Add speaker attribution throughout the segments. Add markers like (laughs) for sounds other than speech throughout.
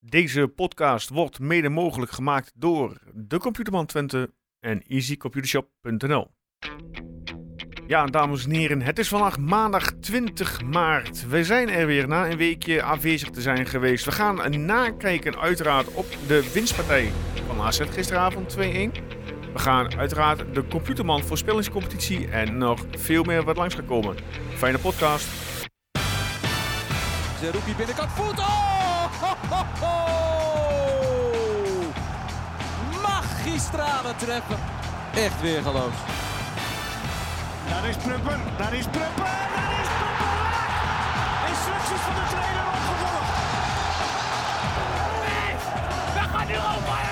Speaker 1: Deze podcast wordt mede mogelijk gemaakt door De Computerman Twente en easycomputershop.nl. Ja, dames en heren, het is vandaag maandag 20 maart. We zijn er weer na een weekje afwezig te zijn geweest. We gaan nakijken uiteraard op de winstpartij van AZ gisteravond 2-1. We gaan uiteraard de Computerman voorspellingscompetitie en nog veel meer wat langs gaan komen. Fijne podcast.
Speaker 2: Zerouki binnenkant voet. Oh! Ho, ho, ho! Magistrale treppen. Echt weer geloof.
Speaker 3: Daar is Prupper, daar is Prupper, daar is Prupper! Instructies van de trainer opgevolgd.
Speaker 4: We gaan nu over!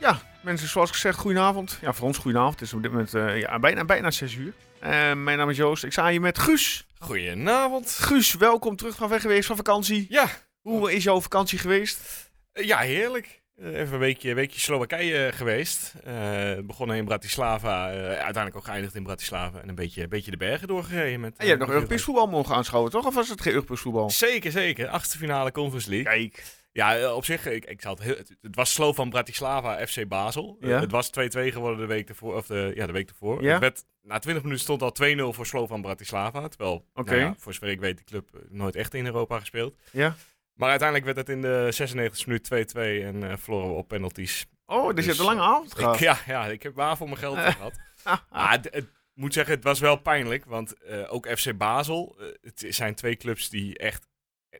Speaker 1: Ja, mensen, zoals gezegd, goedenavond. Ja, voor ons goedenavond. Het is op dit moment eh, ja, bijna, bijna 6 uur. Eh, mijn naam is Joost. Ik sta hier met Guus.
Speaker 5: Goedenavond.
Speaker 1: Guus, welkom terug van weg geweest van vakantie.
Speaker 5: Ja,
Speaker 1: Hoe is jouw vakantie geweest?
Speaker 5: eh, ja heerlijk. Eh, Even een weekje, weekje Slowakije eh, geweest. Eh, begonnen in Bratislava, eh, uiteindelijk ook geëindigd in Bratislava. En een beetje, een beetje de bergen doorgereden. Met,
Speaker 1: En je hebt
Speaker 5: eh,
Speaker 1: nog Europees voetbal mogen aanschouwen, toch? Of was het geen Europees voetbal?
Speaker 5: Zeker, zeker. Achtste finale Conference League.
Speaker 1: Kijk.
Speaker 5: Ja, eh, op zich, ik, ik zal het, heel, het, het was slow van Bratislava, FC Basel. Eh,
Speaker 1: Ja.
Speaker 5: het was 2-2 geworden de week ervoor. Of de, ja, de week ervoor.
Speaker 1: Ja.
Speaker 5: Het werd, na 20 minuten stond al 2-0 voor Slovan Bratislava. Terwijl,
Speaker 1: Oké.
Speaker 5: nou ja, voor zover ik weet, de club eh, nooit echt in Europa gespeeld.
Speaker 1: Ja.
Speaker 5: Maar uiteindelijk werd het in de 96e minuut 2-2 en eh verloren we op penalties.
Speaker 1: Oh, dus, je hebt
Speaker 5: Dus,
Speaker 1: een lange avond
Speaker 5: Ik,
Speaker 1: gehad.
Speaker 5: ja, ja, ik heb waar voor mijn geld gehad.
Speaker 1: Ah,
Speaker 5: Maar het, het moet zeggen, het was wel pijnlijk. Want eh, ook FC Basel, eh, het zijn twee clubs die echt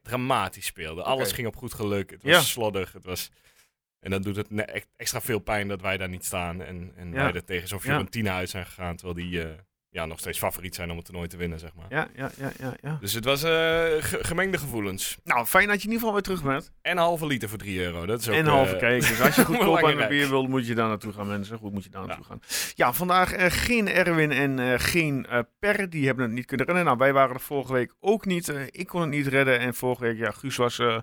Speaker 5: dramatisch speelden. Alles ging op goed geluk. Het was
Speaker 1: Ja.
Speaker 5: sloddig. Het was... En dan doet het ne- echt extra veel pijn dat wij daar niet staan. En, en
Speaker 1: Ja.
Speaker 5: wij er tegen zo'n
Speaker 1: Ja.
Speaker 5: Fiorentina uit zijn gegaan. Terwijl die eh, ja, nog steeds favoriet zijn om het toernooi te winnen, zeg maar.
Speaker 1: (laughs) ja, ja, ja, ja, ja.
Speaker 5: Dus het was eh, ge- gemengde gevoelens.
Speaker 1: Nou, fijn dat je in ieder geval weer terug bent.
Speaker 5: En een halve liter voor 3 euro. Dat is ook,
Speaker 1: en halve
Speaker 5: eh,
Speaker 1: kijkers. Dus
Speaker 5: (laughs)
Speaker 1: als je goedkoop aan de
Speaker 5: belangrijk.
Speaker 1: bier wil, moet je daar naartoe gaan, mensen. Goed, moet je daar naartoe gaan. Ja, vandaag eh, geen Erwin en eh, geen eh, Per. Die hebben het niet kunnen redden. Nou, wij waren er vorige week ook niet. Eh, ik kon het niet redden. En vorige week, ja, Guus was eh,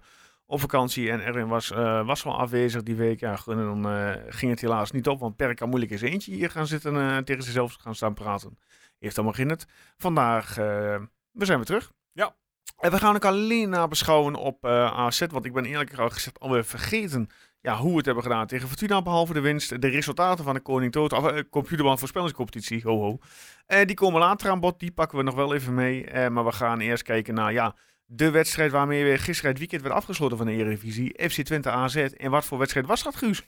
Speaker 1: op vakantie en Erwin was, eh, was wel afwezig die week. Ja, en dan eh, ging het helaas niet op, want Per kan moeilijk eens eentje hier gaan zitten eh, en tegen zichzelf gaan staan praten. Heeft allemaal geen het. Vandaag, eh, we zijn weer terug.
Speaker 5: Ja.
Speaker 1: En we gaan ook alleen nabeschouwen op eh AZ, want ik ben eerlijk gezegd alweer vergeten ja, hoe we het hebben gedaan tegen Fortuna, behalve de winst. De resultaten van de Koning Toto, of eh, computerband voorspellingscompetitie, ho ho. Eh, die komen later aan bod, die pakken we nog wel even mee. Eh, maar we gaan eerst kijken naar, ja, de wedstrijd waarmee we gisteren het weekend werd afgesloten van de Eredivisie. FC Twente AZ. En wat voor wedstrijd was dat, Guus?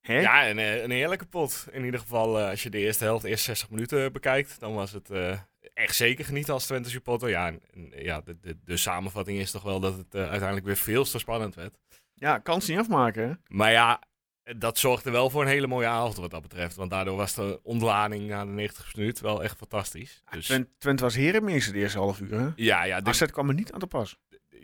Speaker 1: Hè?
Speaker 5: Ja, een, eh, een heerlijke pot. In ieder geval, eh, als je de eerste helft, de eerste 60 minuten bekijkt, dan was het eh, echt zeker genieten als Twente supporter. Ja, en, en, ja de, de, de samenvatting is toch wel dat het eh, uiteindelijk weer veel te spannend werd.
Speaker 1: Ja, kans niet afmaken. hè?
Speaker 5: Maar ja, dat zorgde wel voor een hele mooie avond wat dat betreft. Want daardoor was de ontlading na de 90 minuten wel echt fantastisch. Dus, Ah.
Speaker 1: Twente, Twente was herenmeester de eerste half uur. Hè?
Speaker 5: ja, ja, dit-
Speaker 1: AZ kwam er niet aan te pas.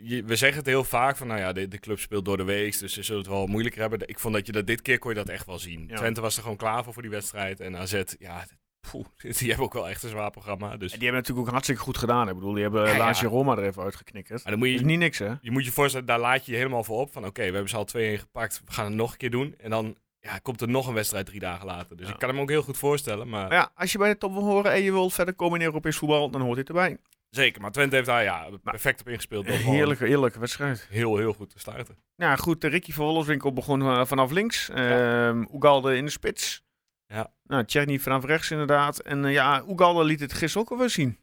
Speaker 5: je- we zeggen het heel vaak van, nou ja, de, de club speelt door de week, dus ze zullen het wel moeilijker hebben. Ik vond dat je dat dit keer kon je dat echt wel zien.
Speaker 1: Ja.
Speaker 5: Twente was er gewoon klaar voor voor die wedstrijd en AZ, ja, poeh, (laughs) die hebben ook wel echt een zwaar programma. Dus.
Speaker 1: En die hebben natuurlijk ook hartstikke goed gedaan. Ik bedoel, die hebben
Speaker 5: Ja,
Speaker 1: ja,
Speaker 5: ja.
Speaker 1: Roma er even uitgeknikkerd.
Speaker 5: Maar dan moet
Speaker 1: Is
Speaker 5: je,
Speaker 1: niet niks, hè?
Speaker 5: je moet je voorstellen, daar laat je je helemaal voor op. Van oké, we hebben ze al 2-1 gepakt, we gaan het nog een keer doen. En dan ja, komt er nog een wedstrijd drie dagen later. Dus
Speaker 1: Ja.
Speaker 5: ik kan hem ook heel goed voorstellen. Maar
Speaker 1: Maar ja, als je bij de top wil horen en je wilt verder komen in Europees voetbal, dan hoort dit erbij.
Speaker 5: zeker, maar Twente heeft daar ja, perfect op (laughs) ingespeeld. Door gewoon
Speaker 1: Heerlijke, heerlijke wedstrijd.
Speaker 5: Heel, heel goed te starten.
Speaker 1: Nou goed, de Ricky van Wolfswinkel begon eh, vanaf links. Ehm Ugalde in de spits.
Speaker 5: Ja.
Speaker 1: Nou, Tjerni vanaf rechts inderdaad. En eh, ja, Ugalde liet het gisteren ook alweer zien.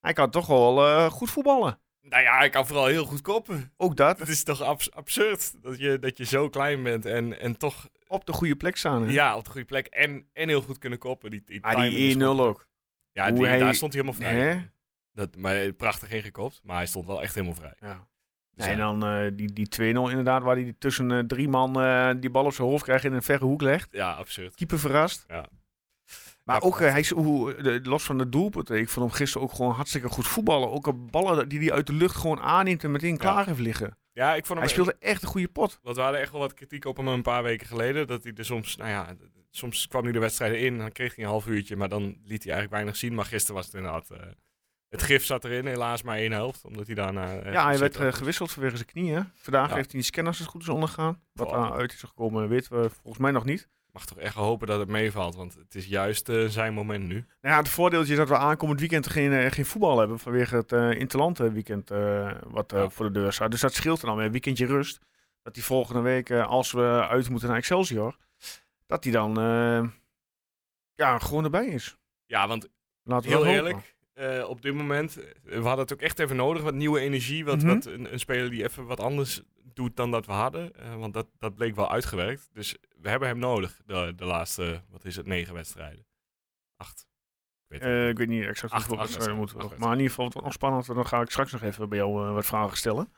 Speaker 1: Hij kan toch wel eh, goed voetballen.
Speaker 5: Nou ja, ik kan vooral heel goed koppen.
Speaker 1: Ook dat,
Speaker 5: (laughs) Het is toch abs- absurd dat je, dat je zo klein bent en, en toch
Speaker 1: op de goede plek staan. hè?
Speaker 5: ja, op de goede plek en, en heel goed kunnen koppen. Die, die
Speaker 1: Ah,
Speaker 5: timing is
Speaker 1: Hm. die 1-0
Speaker 5: goed.
Speaker 1: ook.
Speaker 5: Ja,
Speaker 1: Hoe
Speaker 5: die,
Speaker 1: hij-
Speaker 5: daar stond hij helemaal vrij.
Speaker 1: Hè?
Speaker 5: Dat, maar prachtig ingekopt, maar hij stond wel echt helemaal vrij.
Speaker 1: Ja.
Speaker 5: Dus
Speaker 1: en
Speaker 5: ja,
Speaker 1: dan eh, die, die 2-0 inderdaad, waar hij tussen eh, drie man eh, die bal op zijn hoofd krijgt en in een verre hoek legt.
Speaker 5: ja, absurd.
Speaker 1: Keeper verrast.
Speaker 5: Ja.
Speaker 1: Maar
Speaker 5: Ja,
Speaker 1: ook, eh, hij is, hoe, de- los van de doelpunten, ik vond hem gisteren ook gewoon hartstikke goed voetballen. Ook op ballen die hij uit de lucht gewoon aanneemt en meteen klaar heeft liggen.
Speaker 5: Ja, ik vond hem
Speaker 1: Hij speelde echt een goede pot.
Speaker 5: Want we hadden echt wel wat kritiek op hem een paar weken geleden. Dat hij er soms, nou ja, d- soms kwam hij de wedstrijden in. Dan kreeg hij een half uurtje, maar dan liet hij eigenlijk weinig zien. Maar gisteren was het inderdaad. eh, het gif zat erin, helaas maar één helft. Omdat hij daarna. eh,
Speaker 1: ja, hij
Speaker 5: zit
Speaker 1: werd
Speaker 5: had.
Speaker 1: eh, gewisseld vanwege zijn knieën. Vandaag
Speaker 5: Ja.
Speaker 1: heeft hij die scanners als het goed is ondergaan. Wat
Speaker 5: Wow.
Speaker 1: daaruit is gekomen weten we volgens mij nog niet.
Speaker 5: mag toch echt hopen dat het meevalt, want het is juist eh, zijn moment nu.
Speaker 1: Nou ja, het voordeeltje is dat we aankomend weekend geen, eh, geen voetbal hebben vanwege het eh Interland eh, weekend eh, wat eh,
Speaker 5: Ja.
Speaker 1: voor de deur staat. Dus dat scheelt dan weer een weekendje rust. Dat die volgende week, eh, als we uit moeten naar Excelsior, dat die dan eh, ja, gewoon erbij is.
Speaker 5: Ja, want
Speaker 1: Laten we
Speaker 5: heel
Speaker 1: dat hopen.
Speaker 5: eerlijk, eh, op dit moment, eh, we hadden het ook echt even nodig, wat nieuwe energie, wat,
Speaker 1: Mhm.
Speaker 5: wat een, een speler die even wat anders doet dan dat we hadden. eh, want dat, dat bleek wel uitgewerkt. Dus we hebben hem nodig, de, de laatste, wat is het, negen wedstrijden. Acht. Ik weet het
Speaker 1: Eh,
Speaker 5: niet.
Speaker 1: ik weet niet exact
Speaker 5: Acht-
Speaker 1: hoeveel
Speaker 5: acht
Speaker 1: wedstrijden
Speaker 5: wedstrijden,
Speaker 1: moeten we
Speaker 5: acht
Speaker 1: nog. Maar in ieder geval, het wordt nog spannend. Dan ga ik straks nog even bij jou eh, wat vragen stellen.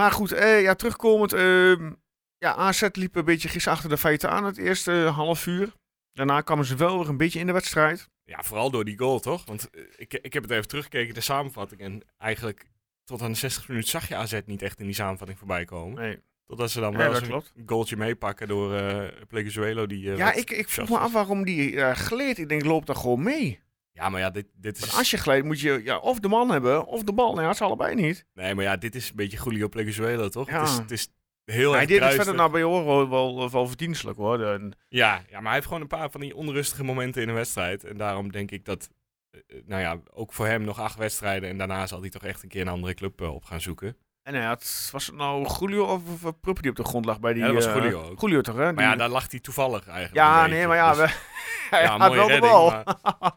Speaker 1: Maar goed, eh, ja, terugkomend. ehm, ja, AZ liep een beetje gisteren achter de feiten aan het eerste eh, half uur. Daarna kwamen ze wel weer een beetje in de wedstrijd.
Speaker 5: Ja, vooral door die goal, toch? Want eh, ik, ik heb het even teruggekeken, de samenvatting. En eigenlijk tot aan de 60 minuut zag je AZ niet echt in die samenvatting voorbij komen.
Speaker 1: Nee.
Speaker 5: Totdat ze dan
Speaker 1: Ja,
Speaker 5: wel
Speaker 1: dat
Speaker 5: eens
Speaker 1: klopt.
Speaker 5: een goaltje meepakken door eh Plegezuelo. Die, eh,
Speaker 1: Ja,
Speaker 5: wat
Speaker 1: ik, ik vroeg
Speaker 5: shots
Speaker 1: me
Speaker 5: was.
Speaker 1: af waarom die eh, gleed. Ik denk, loop dan gewoon mee.
Speaker 5: Ja, maar ja, dit, dit
Speaker 1: Want
Speaker 5: is...
Speaker 1: als je gleed, moet je ja, of de man hebben, of de bal. Nou Nee, had ze allebei niet.
Speaker 5: Nee, maar ja, dit is een beetje Julio Plegezuelo, toch?
Speaker 1: Ja.
Speaker 5: Het, is, het is heel
Speaker 1: Hij
Speaker 5: erg
Speaker 1: deed het
Speaker 5: druistig.
Speaker 1: verder naar bij horen wel, wel, wel verdienstelijk hoor. De-
Speaker 5: Ja, ja, maar hij heeft gewoon een paar van die onrustige momenten in een wedstrijd. En daarom denk ik dat, eh, eh, nou ja, ook voor hem nog acht wedstrijden. En daarna zal hij toch echt een keer een andere club eh, op gaan zoeken.
Speaker 1: En hij had, was het nou Julio of, of Pruppen die op de grond lag bij die...
Speaker 5: Ja, dat
Speaker 1: eh,
Speaker 5: was Julio ook.
Speaker 1: Julio toch, hè? Die-
Speaker 5: Maar ja, daar lag hij toevallig eigenlijk.
Speaker 1: Ja,
Speaker 5: een
Speaker 1: nee,
Speaker 5: beetje.
Speaker 1: maar ja,
Speaker 5: Dus-
Speaker 1: we, (laughs) hij
Speaker 5: (laughs) ja,
Speaker 1: had
Speaker 5: mooie
Speaker 1: wel de
Speaker 5: redding,
Speaker 1: bal.
Speaker 5: maar-
Speaker 1: (laughs)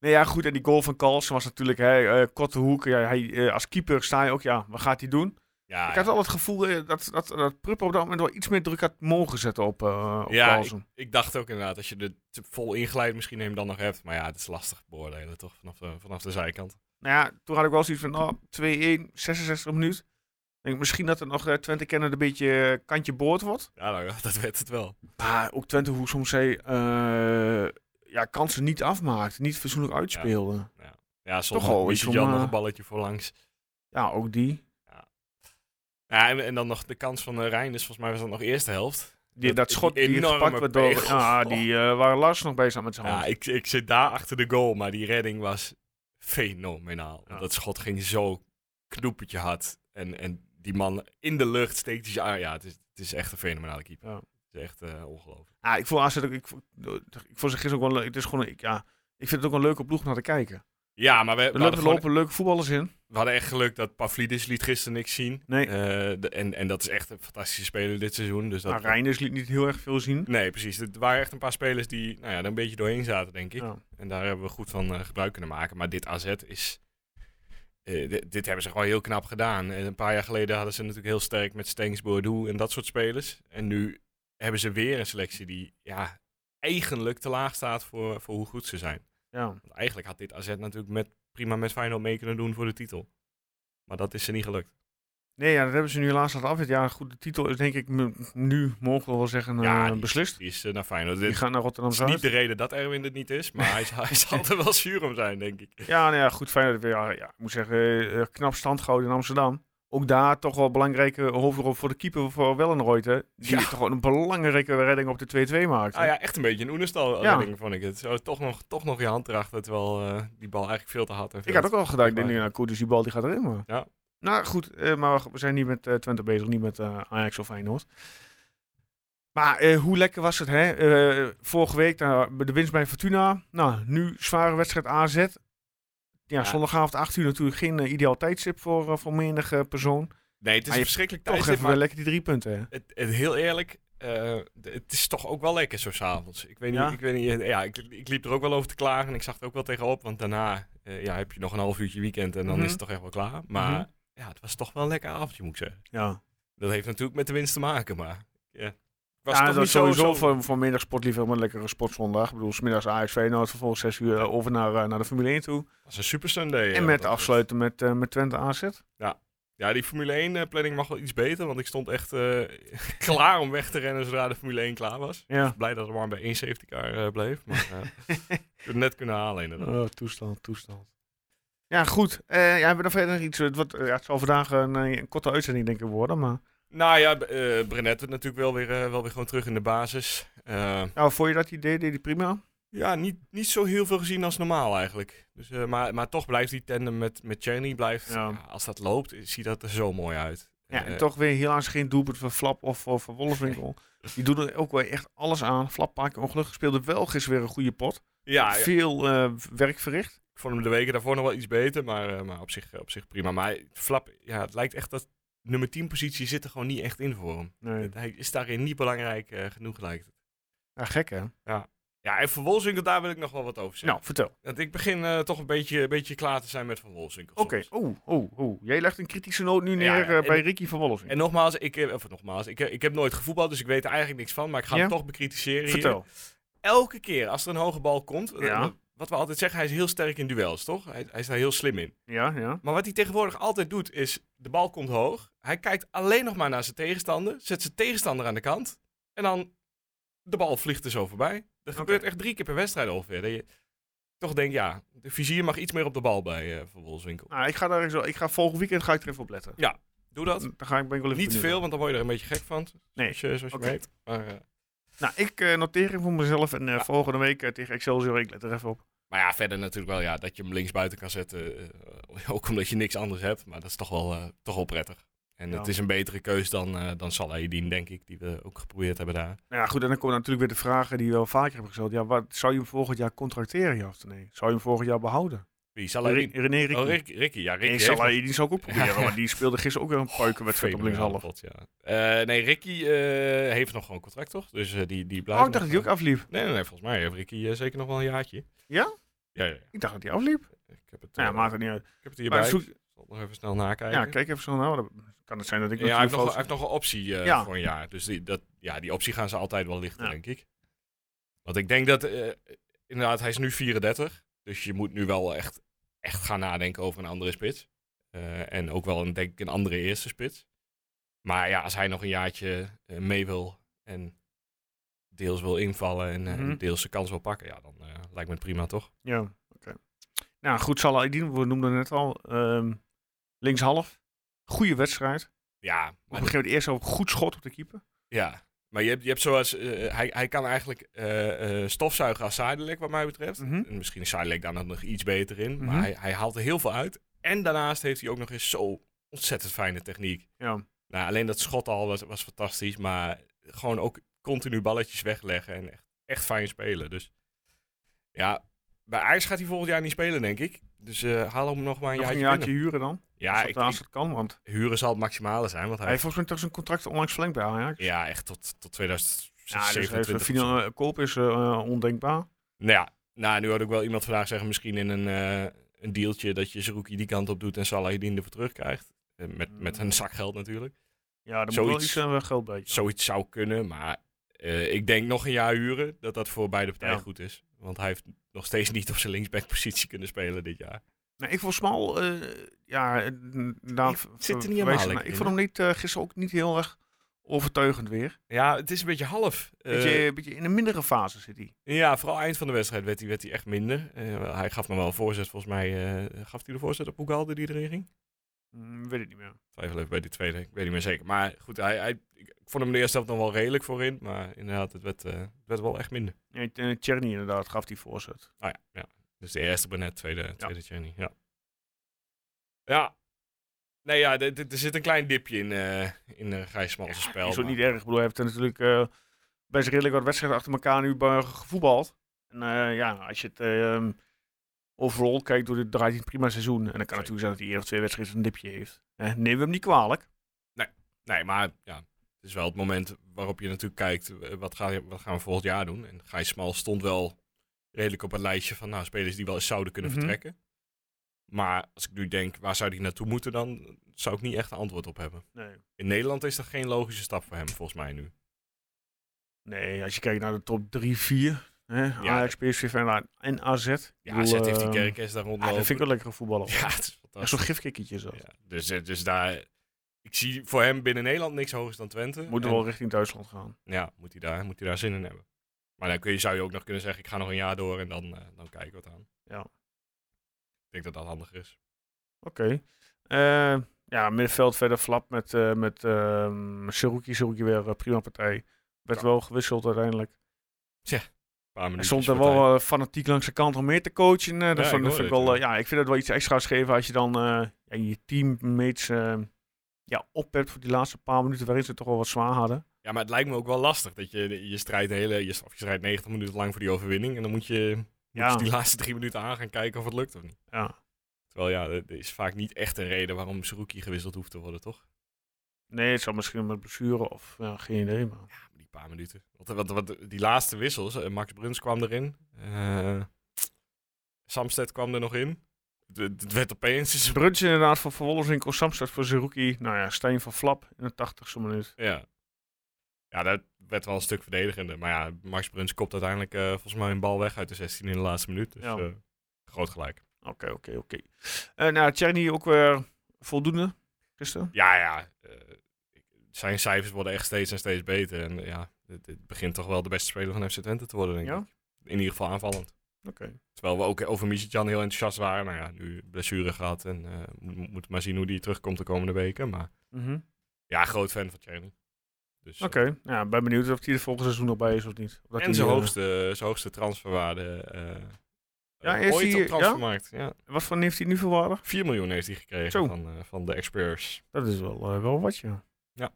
Speaker 1: nee, ja, goed. En die goal van Carlsen was natuurlijk hè, eh, korte hoek. Ja, hij, eh, als keeper sta je ook, ja, wat gaat hij doen?
Speaker 5: Ah, ja,
Speaker 1: ik had al het gevoel eh, dat, dat, dat Pruppen op dat moment wel iets meer druk had mogen zetten op, eh op
Speaker 5: Ja,
Speaker 1: Carlsen.
Speaker 5: Ik dacht ook inderdaad, als je er te vol inglijdt, misschien hem dan nog hebt. Maar ja, het is lastig beoordelen, toch? Vanaf de, vanaf de zijkant.
Speaker 1: Nou ja, toen had ik wel zoiets van, oh, 2-1, 66 minuut. Denk ik, misschien dat er nog eh, Twente kennen een beetje eh, kantje boord wordt.
Speaker 5: Ja, nou, (laughs) dat werd het wel.
Speaker 1: Maar ook Twente, hoe soms hij eh, ja, kansen niet afmaakt, niet verzoenlijk uitspeelde. Ja,
Speaker 5: Ja, soms
Speaker 1: Toch al,
Speaker 5: had
Speaker 1: iets om,
Speaker 5: Jan nog
Speaker 1: eh,
Speaker 5: een balletje voor langs.
Speaker 1: ook die.
Speaker 5: Ja, en, en dan nog de kans van eh, Rijn. Dus volgens mij was dat nog eerste helft.
Speaker 1: die dat
Speaker 5: Dat-
Speaker 1: schot die,
Speaker 5: die enorme
Speaker 1: gepakt werd door...
Speaker 5: pegel.
Speaker 1: Ja, die eh, waren Lars nog bezig met zijn hand.
Speaker 5: Ja, ik, ik zit daar achter de goal, maar die redding was fenomenaal. Want
Speaker 1: Ja.
Speaker 5: Dat schot ging zo knoepetje hard. En, en die man in de lucht steekt hij zijn arm. Ja, het is, het is echt een fenomenale keeper.
Speaker 1: Ja.
Speaker 5: Het is echt eh, ongelooflijk.
Speaker 1: Ja, ik vond AZ ook... Ik, vond- ik vond ze gisteren ook wel leuk. Het is gewoon... een- Ik, ja, ik vind het ook een leuke ploeg om naar te kijken.
Speaker 5: Ja, maar we, we
Speaker 1: Er
Speaker 5: hadden
Speaker 1: lopen,
Speaker 5: gewoon-
Speaker 1: lopen leuke voetballers in.
Speaker 5: we hadden echt geluk dat Pavlidis liet gisteren niks zien.
Speaker 1: Nee.
Speaker 5: Eh, de- en, en dat is echt een fantastische speler dit seizoen. Dus dat,
Speaker 1: Maar Reinders liet niet heel erg veel zien.
Speaker 5: Nee, precies. Er waren echt een paar spelers die nou ja, er een beetje doorheen zaten, denk ik.
Speaker 1: Ja.
Speaker 5: En daar hebben we goed van eh, gebruik kunnen maken. Maar dit AZ is... eh, di- dit hebben ze gewoon heel knap gedaan. En een paar jaar geleden hadden ze natuurlijk heel sterk met Stengs, Boadu en dat soort spelers. En nu hebben ze weer een selectie die ja, eigenlijk te laag staat voor, voor hoe goed ze zijn.
Speaker 1: ja.
Speaker 5: Want eigenlijk had dit AZ natuurlijk met, prima met Feyenoord mee kunnen doen voor de titel. Maar dat is ze niet gelukt.
Speaker 1: Nee, ja, dat hebben ze nu helaas laten af. Ja, goed, de titel is denk ik m- nu, mogen we wel zeggen,
Speaker 5: Ja,
Speaker 1: eh,
Speaker 5: die-
Speaker 1: beslist.
Speaker 5: Die is eh, naar Feyenoord.
Speaker 1: Die
Speaker 5: Dit
Speaker 1: gaan naar
Speaker 5: is niet
Speaker 1: Rotterdam-Zuid.
Speaker 5: de reden dat Erwin het niet is, maar hij, zal- hij zal er wel zuur om zijn, denk ik.
Speaker 1: Ja, nou ja, goed, Feyenoord weer, ja, ja, ik moet zeggen, eh, eh, knap stand gehouden in Amsterdam. Ook daar toch wel een belangrijke hoofdrol voor de keeper voor Wellenrooyte. Die
Speaker 5: Ja.
Speaker 1: toch gewoon een belangrijke redding op de 2-2 maakt.
Speaker 5: Ah ja, echt een beetje een oenestal
Speaker 1: Ja.
Speaker 5: redding vond ik het. Zo, toch, nog, toch nog je hand erachter, terwijl eh, die bal eigenlijk veel te hard en veel
Speaker 1: Ik had
Speaker 5: te-
Speaker 1: ook al gedacht, ik denk,
Speaker 5: Ja.
Speaker 1: nou goed, dus die bal die gaat erin. Maar.
Speaker 5: Ja.
Speaker 1: Nou goed, eh, maar we zijn niet met eh, Twente bezig, niet met eh, Ajax of Feyenoord. Maar eh, hoe lekker was het, hè? Eh, vorige week nou, de winst bij Fortuna. Nou, nu zware wedstrijd AZ. Ja,
Speaker 5: Ja.
Speaker 1: zondagavond 8 uur natuurlijk geen eh, ideaal tijdstip voor, eh, voor menige persoon.
Speaker 5: Nee, het is
Speaker 1: Maar je
Speaker 5: een verschrikkelijk
Speaker 1: Toch
Speaker 5: tijdstip,
Speaker 1: even
Speaker 5: maar
Speaker 1: wel lekker die drie punten, hè?
Speaker 5: het, het, heel eerlijk, eh, d- het is toch ook wel lekker zo s'avonds. Ik weet niet,
Speaker 1: Ja?
Speaker 5: ik, weet niet eh, ja, ik, ik liep er ook wel over te klagen en ik zag er ook wel tegenop, want daarna eh, ja, heb je nog een half uurtje weekend en dan
Speaker 1: Mhm.
Speaker 5: is het toch echt wel klaar. Maar
Speaker 1: Mhm.
Speaker 5: ja, het was toch wel een lekker avondje, moet ik zeggen.
Speaker 1: Ja.
Speaker 5: Dat heeft natuurlijk met de winst te maken, maar ja. Ik was
Speaker 1: ja,
Speaker 5: toch
Speaker 1: dat
Speaker 5: niet
Speaker 1: is sowieso
Speaker 5: zo-
Speaker 1: voor, voor middag sportliefhebber een lekkere sportzondag. Ik bedoel, smiddags Ajax Feyenoord, vervolgens 6 uur eh, over naar, eh, naar de Formule 1 toe.
Speaker 5: was een super Sunday.
Speaker 1: en
Speaker 5: eh, wat
Speaker 1: met
Speaker 5: dat betreft.
Speaker 1: afsluiten met, eh, met Twente AZ.
Speaker 5: Ja, die Formule 1 eh, planning mag wel iets beter, want ik stond echt eh, (laughs) klaar om weg te rennen zodra de Formule 1 klaar was.
Speaker 1: Ja.
Speaker 5: Blij dat het maar bij één safety car eh, bleef, maar
Speaker 1: (laughs)
Speaker 5: eh, ik heb het net kunnen halen inderdaad.
Speaker 1: Oh, toestand, toestand. Ja, goed. Eh ja, hebben we nog verder nog iets? Het, wordt, eh, ja, het zal vandaag een, eh, een korte uitzending denk ik worden, maar...
Speaker 5: Nou ja, b- eh Brenet wordt natuurlijk wel weer, eh, wel weer gewoon terug in de basis. Eh,
Speaker 1: Nou, vond je dat idee? Deed hij prima?
Speaker 5: ja, niet, niet zo heel veel gezien als normaal eigenlijk. Dus, eh, maar, maar toch blijft die tandem met, met Czerny, blijft,
Speaker 1: Ja.
Speaker 5: ja, als dat loopt, ziet dat er zo mooi uit.
Speaker 1: Ja, en
Speaker 5: Eh, (laughs)
Speaker 1: toch weer helaas geen doelpunt van Flap of, of van Wolfswinkel. Die doen er ook wel echt alles aan. Flappaak, ongelukkig speelde wel gisteren weer een goede pot.
Speaker 5: Ah, Ja, ja,
Speaker 1: Veel eh, werk verricht.
Speaker 5: ik vond hem de weken daarvoor nog wel iets beter, maar, eh, maar op, zich, op zich prima. Maar Flap, ja, het lijkt echt dat nummer 10 positie zit er gewoon niet echt in voor hem.
Speaker 1: Nee.
Speaker 5: Hij is daarin niet belangrijk eh, genoeg, lijkt het.
Speaker 1: Ja, Nou, gek hè?
Speaker 5: Ja, en voor Wolzinkel, daar wil ik nog wel wat over zeggen.
Speaker 1: Nou, vertel.
Speaker 5: Want ik begin eh, toch een beetje, een beetje klaar te zijn met Van Wolzinkel.
Speaker 1: Oké,
Speaker 5: soms.
Speaker 1: oeh, oeh, oeh. Jij legt een kritische noot nu
Speaker 5: Ja,
Speaker 1: neer eh,
Speaker 5: en-
Speaker 1: bij Ricky van Wollensing.
Speaker 5: En nogmaals, ik, heb- of nogmaals ik, heb- ik heb nooit gevoetbald, dus ik weet er eigenlijk niks van. Maar ik ga hem
Speaker 1: Ja?
Speaker 5: toch bekritiseren hier.
Speaker 1: Vertel.
Speaker 5: Elke keer als er een hoge bal komt, eh,
Speaker 1: Ja.
Speaker 5: wat we altijd zeggen, hij is heel sterk in duels, toch? Hij, hij is daar heel slim in.
Speaker 1: Ja, ja.
Speaker 5: Maar wat hij tegenwoordig altijd doet, is de bal komt hoog. Hij kijkt alleen nog maar naar zijn tegenstander, zet zijn tegenstander aan de kant. En dan, de bal vliegt er zo voorbij. Dat gebeurt echt drie keer per wedstrijd ongeveer. Dat je toch denkt, ja, de vizier mag iets meer op de bal bij eh Van Wolfswinkel.
Speaker 1: Nou, ik ga daar zo. Ik ga volgend weekend ga ik er even op letten.
Speaker 5: Doe dat.
Speaker 1: Dan ga ik ben ik wel even
Speaker 5: Niet te
Speaker 1: benieuwd.
Speaker 5: veel, want dan word je er een beetje gek van.
Speaker 1: Nee.
Speaker 5: Zoals je, zoals je
Speaker 1: Oké.
Speaker 5: weet. Maar, eh,
Speaker 1: Nou, ik eh, noteer hem voor mezelf en eh, volgende week eh, tegen Excelsior. Ik let er even op.
Speaker 5: maar ja, verder natuurlijk wel ja, dat je hem linksbuiten kan zetten. eh, (laughs) ook omdat je niks anders hebt. Maar dat is toch wel, eh, toch wel prettig. En
Speaker 1: Ja.
Speaker 5: het is een betere keus dan, eh dan Salahidin, denk ik. Die we ook geprobeerd hebben daar.
Speaker 1: Nou ja, goed. En dan komen natuurlijk weer de vragen die we wel vaker hebben gesteld. Ja, wat, zou je hem volgend jaar contracteren, ja of nee? Zou je hem volgend jaar behouden?
Speaker 5: Wie?
Speaker 1: Ri-
Speaker 5: Salahidin?
Speaker 1: René Ricky.
Speaker 5: Oh, Ricky. Ricky. Ja, Ricky
Speaker 1: ik
Speaker 5: heeft
Speaker 1: zal
Speaker 5: nog-
Speaker 1: hij die zou (laughs) ik ook proberen,
Speaker 5: Ja.
Speaker 1: maar die speelde gisteren ook weer een puikenwedstrijd op
Speaker 5: fenomenale
Speaker 1: linkshalf.
Speaker 5: pot, ja. Eh, nee, Ricky eh, heeft nog gewoon contract, toch? Dus eh, die, die blijft
Speaker 1: Oh, ik dacht dat hij ook afliep.
Speaker 5: Nee, nee, nee, volgens mij heeft Ricky eh, zeker nog wel een jaartje.
Speaker 1: Ja?
Speaker 5: Ja, ja, ja.
Speaker 1: Ik dacht dat hij afliep.
Speaker 5: Ik heb het,
Speaker 1: Nou ja,
Speaker 5: eh,
Speaker 1: maakt het niet uit.
Speaker 5: ik heb het hierbij.
Speaker 1: maar zoek-
Speaker 5: Ik zal het nog even snel nakijken.
Speaker 1: Ja, kijk even zo nou. dan Kan het zijn dat ik
Speaker 5: Ja, hij
Speaker 1: nog
Speaker 5: heeft,
Speaker 1: geen
Speaker 5: nog, hij
Speaker 1: foto's-
Speaker 5: heeft nog een optie eh,
Speaker 1: Ja.
Speaker 5: voor een jaar. Dus die, dat, ja, die optie gaan ze altijd wel lichten,
Speaker 1: Ja.
Speaker 5: denk ik. Want ik denk dat, eh, inderdaad, hij is nu 34. Dus je moet nu wel echt, echt gaan nadenken over een andere spits. Eh, en ook wel, een, denk ik, een andere eerste spits. Maar ja, als hij nog een jaartje eh, mee wil en deels wil invallen en eh,
Speaker 1: Mhm.
Speaker 5: deels zijn kans wil pakken, ja, dan eh, lijkt me het prima, toch?
Speaker 1: Ja, oké. Nou goed, Salah Eddin, we noemden het net al. ehm, linkshalf. Goede wedstrijd. Op
Speaker 5: Ja,
Speaker 1: een
Speaker 5: maar
Speaker 1: gegeven moment eerst ook goed schot op de keeper.
Speaker 5: Ja, maar je hebt, je hebt zoals. eh, hij, hij kan eigenlijk eh, eh, stofzuigen als Sidelec, wat mij betreft.
Speaker 1: Mhm.
Speaker 5: En misschien is Sidelec daar dan nog iets beter in.
Speaker 1: Mhm.
Speaker 5: Maar hij, hij haalt er heel veel uit. En daarnaast heeft hij ook nog eens zo ontzettend fijne techniek.
Speaker 1: Ja.
Speaker 5: Nou, alleen dat schot al was, was fantastisch. Maar gewoon ook continu balletjes wegleggen. En echt, echt fijn spelen. Dus ja, bij IJs gaat hij volgend jaar niet spelen, denk ik. Dus eh, haal hem nog maar een
Speaker 1: Nog een
Speaker 5: jaartje,
Speaker 1: jaartje
Speaker 5: binnen.
Speaker 1: huren dan.
Speaker 5: Ja,
Speaker 1: als,
Speaker 5: ik,
Speaker 1: dat, als
Speaker 5: ik,
Speaker 1: het kan, want
Speaker 5: huren zal het maximale zijn. Want hij
Speaker 1: hij heeft volgens mij toch zijn contract onlangs verlengd bij Ajax.
Speaker 5: ja, echt tot, tot 2027.
Speaker 1: Ja, dus even
Speaker 5: of zo.
Speaker 1: final, eh, koop is eh, ondenkbaar.
Speaker 5: Nou ja, nou, nu had ik wel iemand vandaag zeggen, misschien in een, eh, een dealtje dat je Zerouki die kant op doet en Salahidin ervoor terugkrijgt. Eh, Met, met een zak geld natuurlijk.
Speaker 1: Ja, daar moet wel
Speaker 5: Zoiets.
Speaker 1: iets eh, geld bij.
Speaker 5: Zoiets zou kunnen, maar eh, ik denk nog een jaar huren dat dat voor beide partijen
Speaker 1: Ja.
Speaker 5: goed is. Want hij heeft nog steeds niet op zijn linksbackpositie kunnen spelen dit jaar.
Speaker 1: Nee, ik vond Smal, eh, ja, eh, n- daar
Speaker 5: Ik zit er niet
Speaker 1: verwees
Speaker 5: helemaal
Speaker 1: ik naar.
Speaker 5: lekker
Speaker 1: Ik
Speaker 5: in,
Speaker 1: vond hem niet, eh, gisteren ook niet heel erg overtuigend weer.
Speaker 5: Ja, het is een beetje half. Eh,
Speaker 1: beetje, een beetje in een mindere fase zit hij.
Speaker 5: ja, vooral eind van de wedstrijd werd hij, werd hij echt minder. Eh, hij gaf me wel een voorzet, volgens mij. eh, gaf hij de voorzet op Boegalde die erin ging?
Speaker 1: Mm, weet het niet meer.
Speaker 5: twijfel even bij die tweede. Ik weet niet meer zeker. Maar goed, hij, hij, ik vond hem de eerste helft nog wel redelijk voorin. Maar inderdaad, het werd, eh, het werd wel echt minder.
Speaker 1: Nee, T- eh, Tjerni inderdaad gaf die voorzet.
Speaker 5: Ah ja, ja. Dus de eerste Brenet, tweede, tweede Tjerni. Ja. ja. Nee, ja, er- er er zit een klein dipje in, eh in eh Gijs Smalse spel.
Speaker 1: Is ook
Speaker 5: maar-
Speaker 1: niet erg. Ik bedoel, hij heeft er natuurlijk eh, best redelijk wat wedstrijden achter elkaar nu bij- gevoetbald. En eh, ja, als je het eh, overal kijkt, doet het- draait hij een prima seizoen. En dan kan natuurlijk zijn dat hij één of twee wedstrijden een dipje heeft. Eh, nemen we hem niet kwalijk.
Speaker 5: Nee, maar ja, het is wel het moment waarop je natuurlijk kijkt, eh, wat, ga, je- wat gaan we volgend jaar doen? En Gijs Smal stond wel redelijk op het lijstje van nou, spelers die wel eens zouden kunnen
Speaker 1: Mhm.
Speaker 5: vertrekken. Maar als ik nu denk, waar zou die naartoe moeten dan, zou ik niet echt een antwoord op hebben.
Speaker 1: Nee.
Speaker 5: In Nederland is dat geen logische stap voor hem, volgens mij nu.
Speaker 1: Nee, als je kijkt naar de top 3, 4. Hè?
Speaker 5: Ja.
Speaker 1: Ajax, PSV, Feyenoord en AZ. Ik
Speaker 5: Ja,
Speaker 1: bedoel,
Speaker 5: Zet heeft die
Speaker 1: eh,
Speaker 5: kerkers daar
Speaker 1: Ja, dat
Speaker 5: rondlopen.
Speaker 1: vind ik wel lekkere voetballer.
Speaker 5: (laughs) Ja, het is
Speaker 1: Echt zo'n
Speaker 5: fantastisch.
Speaker 1: gifkikkertje is dat.
Speaker 5: Ja, dus, eh, dus daar, ik zie voor hem binnen Nederland niks hogers dan Twente.
Speaker 1: Moet er
Speaker 5: En-
Speaker 1: wel richting Duitsland gaan.
Speaker 5: Ja, moet hij daar, moet hij daar zin in hebben. Maar dan kun je, zou je ook nog kunnen zeggen, ik ga nog een jaar door en dan, eh, dan kijken we het aan.
Speaker 1: Ja.
Speaker 5: Ik denk dat dat handiger is.
Speaker 1: Oké. Eh, ja, middenveld verder flap met, eh met ehm Siruki. Siruki weer eh, prima partij. Werd
Speaker 5: Ja.
Speaker 1: wel gewisseld uiteindelijk.
Speaker 5: Een paar
Speaker 1: Hij
Speaker 5: minuten.
Speaker 1: stond er wel eh, fanatiek langs de kant om meer te coachen. eh, dat
Speaker 5: ik
Speaker 1: vond, dat
Speaker 5: hoorde
Speaker 1: vind ik
Speaker 5: het,
Speaker 1: wel, eh, ja, ik vind dat wel iets extra's geven als je dan eh, ja, ehm, je teammates eh ja, ophebt voor die laatste paar minuten waarin ze het toch wel wat zwaar hadden.
Speaker 5: Ja, maar het lijkt me ook wel lastig. Dat je, je strijdt de hele, je, of je strijdt 90 minuten lang voor die overwinning. En dan moet je, moet
Speaker 1: Ja.
Speaker 5: je die laatste drie minuten aan gaan kijken of het lukt of niet.
Speaker 1: Ja.
Speaker 5: Terwijl ja, er er is vaak niet echt een reden waarom Seruki gewisseld hoeft te worden, toch?
Speaker 1: Nee, het zal misschien met blessure of ja, geen idee. Maar...
Speaker 5: Ja, maar die paar minuten. Want, want, want die laatste wissels, eh, Max Bruns kwam erin. eh, Samsted kwam er nog in. Het- Het het werd opeens...
Speaker 1: Bruns inderdaad voor Van Wolfswinkel, Samstad voor Zerouki. Nou ja, Steen van Flap in de 80ste minuut.
Speaker 5: Ja. Ja, dat werd wel een stuk verdedigender. Maar ja, Max Bruns kopt uiteindelijk eh, volgens mij een bal weg uit de 16 in de laatste minuut. Dus
Speaker 1: Ja.
Speaker 5: eh, groot gelijk.
Speaker 1: Oké, oké, oké. Eh, nou, Tjerni ook weer voldoende gisteren.
Speaker 5: Ja, ja. eh, zijn cijfers worden echt steeds en steeds beter. En eh, ja, het, het begint toch wel de beste speler van FC Twente te worden, denk
Speaker 1: Ja?
Speaker 5: ik. In ieder geval aanvallend.
Speaker 1: Oké.
Speaker 5: Terwijl we ook eh, over Jan heel enthousiast waren. Nou ja, nu blessure gehad en eh, mo- mo- moet maar zien hoe die terugkomt de komende weken. Maar
Speaker 1: Mhm.
Speaker 5: ja, groot fan van Cherry. Dus, eh,
Speaker 1: Oké, ja, ben benieuwd of hij er volgend seizoen nog bij is of niet. Of dat
Speaker 5: En
Speaker 1: hij,
Speaker 5: zijn
Speaker 1: eh,
Speaker 5: hoogste, zijn hoogste transferwaarde eh,
Speaker 1: Ja,
Speaker 5: eh,
Speaker 1: is
Speaker 5: ooit
Speaker 1: die-
Speaker 5: op transfermarkt. Ja?
Speaker 1: Wat voor heeft hij nu voor waarde?
Speaker 5: 4 miljoen heeft hij gekregen
Speaker 1: Zo.
Speaker 5: van, eh, van de experts.
Speaker 1: Dat is wel, eh, wel wat, ja.
Speaker 5: Ja.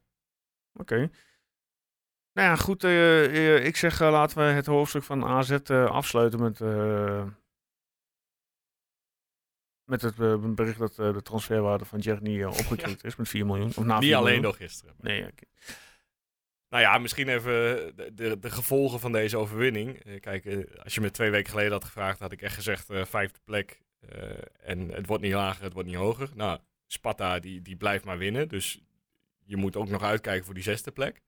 Speaker 1: Oké. Nou ja, goed. eh, eh, ik zeg, eh, laten we het hoofdstuk van AZ eh, afsluiten met, eh, met het eh, bericht dat eh, de transferwaarde van Jerny eh, opgekrikt is met 4 miljoen. Of na 4
Speaker 5: Niet alleen
Speaker 1: Ah, miljoen.
Speaker 5: door gisteren.
Speaker 1: Nee, oké.
Speaker 5: Nou ja, misschien even de, de, de gevolgen van deze overwinning. Eh, kijk, eh, als je me twee weken geleden had gevraagd, had ik echt gezegd eh, vijfde plek. eh, en het wordt niet lager, het wordt niet hoger. Nou, Sparta die, die blijft maar winnen. Dus je moet ook nog uitkijken voor die zesde plek.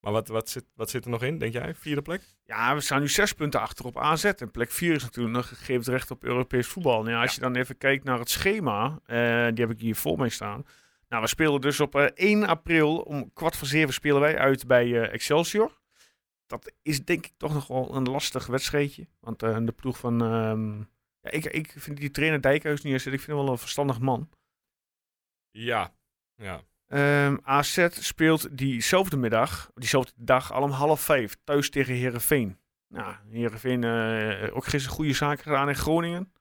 Speaker 5: Maar wat, wat, zit, wat zit er nog in, denk jij? Vierde plek?
Speaker 1: Ja, we staan nu 6 punten achter op AZ. En plek 4 is natuurlijk nog gegeven recht op Europees voetbal. Nou, ja, als je dan even kijkt naar het schema, eh, die heb ik hier voor mij staan. Nou, we spelen dus op eh, 1 april om kwart voor zeven spelen wij uit bij eh, Excelsior. Dat is denk ik toch nog wel een lastig wedstrijdje. Want eh, de ploeg van... ehm, ja, ik, ik vind die trainer Dijkhuis niet eens... Ik vind hem wel een verstandig man.
Speaker 5: Ja. ja.
Speaker 1: Ehm, AZ speelt diezelfde middag, diezelfde dag, al om half vijf, thuis tegen Herenveen. Nou, Herenveen ook gisteren goede zaken gedaan in Groningen.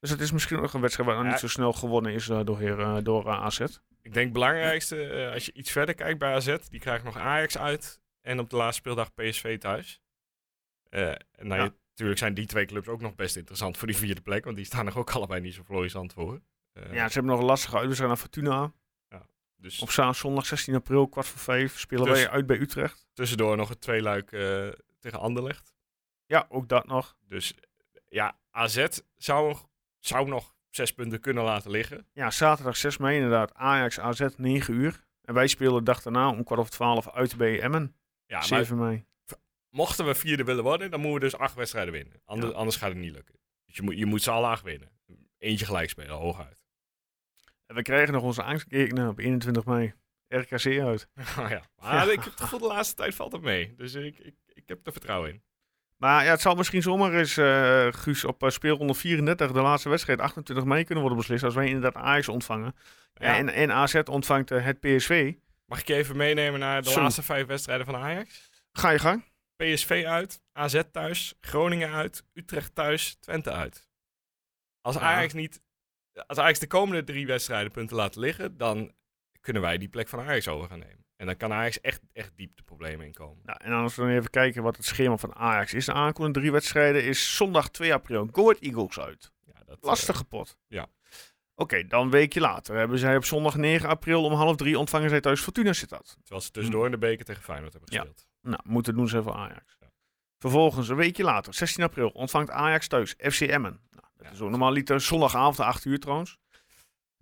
Speaker 1: Dus het is misschien nog een wedstrijd waar nog
Speaker 5: Ja.
Speaker 1: niet zo snel gewonnen is eh, door, Heer, eh, door eh, AZ.
Speaker 5: Ik denk het belangrijkste, eh, als je iets verder kijkt bij AZ, die krijgt nog Ajax uit. En op de laatste speeldag PSV thuis. Eh, en nou,
Speaker 1: Ja.
Speaker 5: je- natuurlijk zijn die twee clubs ook nog best interessant voor die vierde plek. Want die staan er ook (laughs) allebei niet zo florissant voor. Eh,
Speaker 1: Ja, ze hebben nog een lastige uitwedstrijd naar Fortuna.
Speaker 5: Dus
Speaker 1: Op za- zondag 16 april, kwart voor vijf, spelen
Speaker 5: Dus-
Speaker 1: wij uit bij Utrecht.
Speaker 5: tussendoor nog het tweeluik eh tegen Anderlecht.
Speaker 1: Ja, ook dat nog.
Speaker 5: Dus ja, AZ zou, nog- zou nog zes punten kunnen laten liggen.
Speaker 1: Ja, zaterdag 6 mei inderdaad, Ajax AZ, 9 uur. En wij spelen de dag daarna om kwart over twaalf uit bij Emmen,
Speaker 5: Ja, maar
Speaker 1: 7 mei.
Speaker 5: mochten we vierde willen worden, dan moeten we dus acht wedstrijden winnen. Ander-
Speaker 1: Ja.
Speaker 5: Anders gaat het niet lukken. Dus je moet, je moet ze alle acht winnen. Eentje gelijk spelen, hooguit.
Speaker 1: En we krijgen nog onze angstgekeken op 21 mei. RKC uit.
Speaker 5: (laughs) Oh ja. Maar ik heb het gevoel, de laatste tijd valt het mee. Dus ik, ik, ik heb er vertrouwen in.
Speaker 1: Maar ja, het zal misschien zomaar eens, eh, Guus, op eh, speelronde 34, de laatste wedstrijd, 28 mei kunnen worden beslist. Als wij inderdaad Ajax ontvangen.
Speaker 5: Ja.
Speaker 1: En, en AZ ontvangt eh, het PSV.
Speaker 5: Mag ik je even meenemen naar de
Speaker 1: Zo.
Speaker 5: laatste vijf wedstrijden van Ajax?
Speaker 1: Ga je gang.
Speaker 5: PSV uit, AZ thuis, Groningen uit, Utrecht thuis, Twente uit. Als
Speaker 1: Ja.
Speaker 5: Ajax, niet, als Ajax de komende drie wedstrijden punten laat liggen, dan kunnen wij die plek van Ajax over gaan nemen. En dan kan Ajax echt, echt diep de problemen inkomen.
Speaker 1: Nou, en als we dan even kijken wat het schema van Ajax is. De aankomende drie wedstrijden is zondag 2 april. Go Ahead Eagles uit.
Speaker 5: Ja, dat, eh,
Speaker 1: Lastige pot.
Speaker 5: ja.
Speaker 1: Oké, dan een weekje later hebben zij op zondag 9 april om half drie ontvangen zij thuis Fortuna Sittard.
Speaker 5: terwijl ze tussendoor in de beker tegen Feyenoord hebben
Speaker 1: Ja.
Speaker 5: gespeeld.
Speaker 1: Nou, moeten doen ze voor Ajax.
Speaker 5: Ja.
Speaker 1: Vervolgens, een weekje later, 16 april, ontvangt Ajax thuis FC Emmen. Nou, dat
Speaker 5: Ja.
Speaker 1: is ook normaal liter zondagavond, 8 uur trouwens.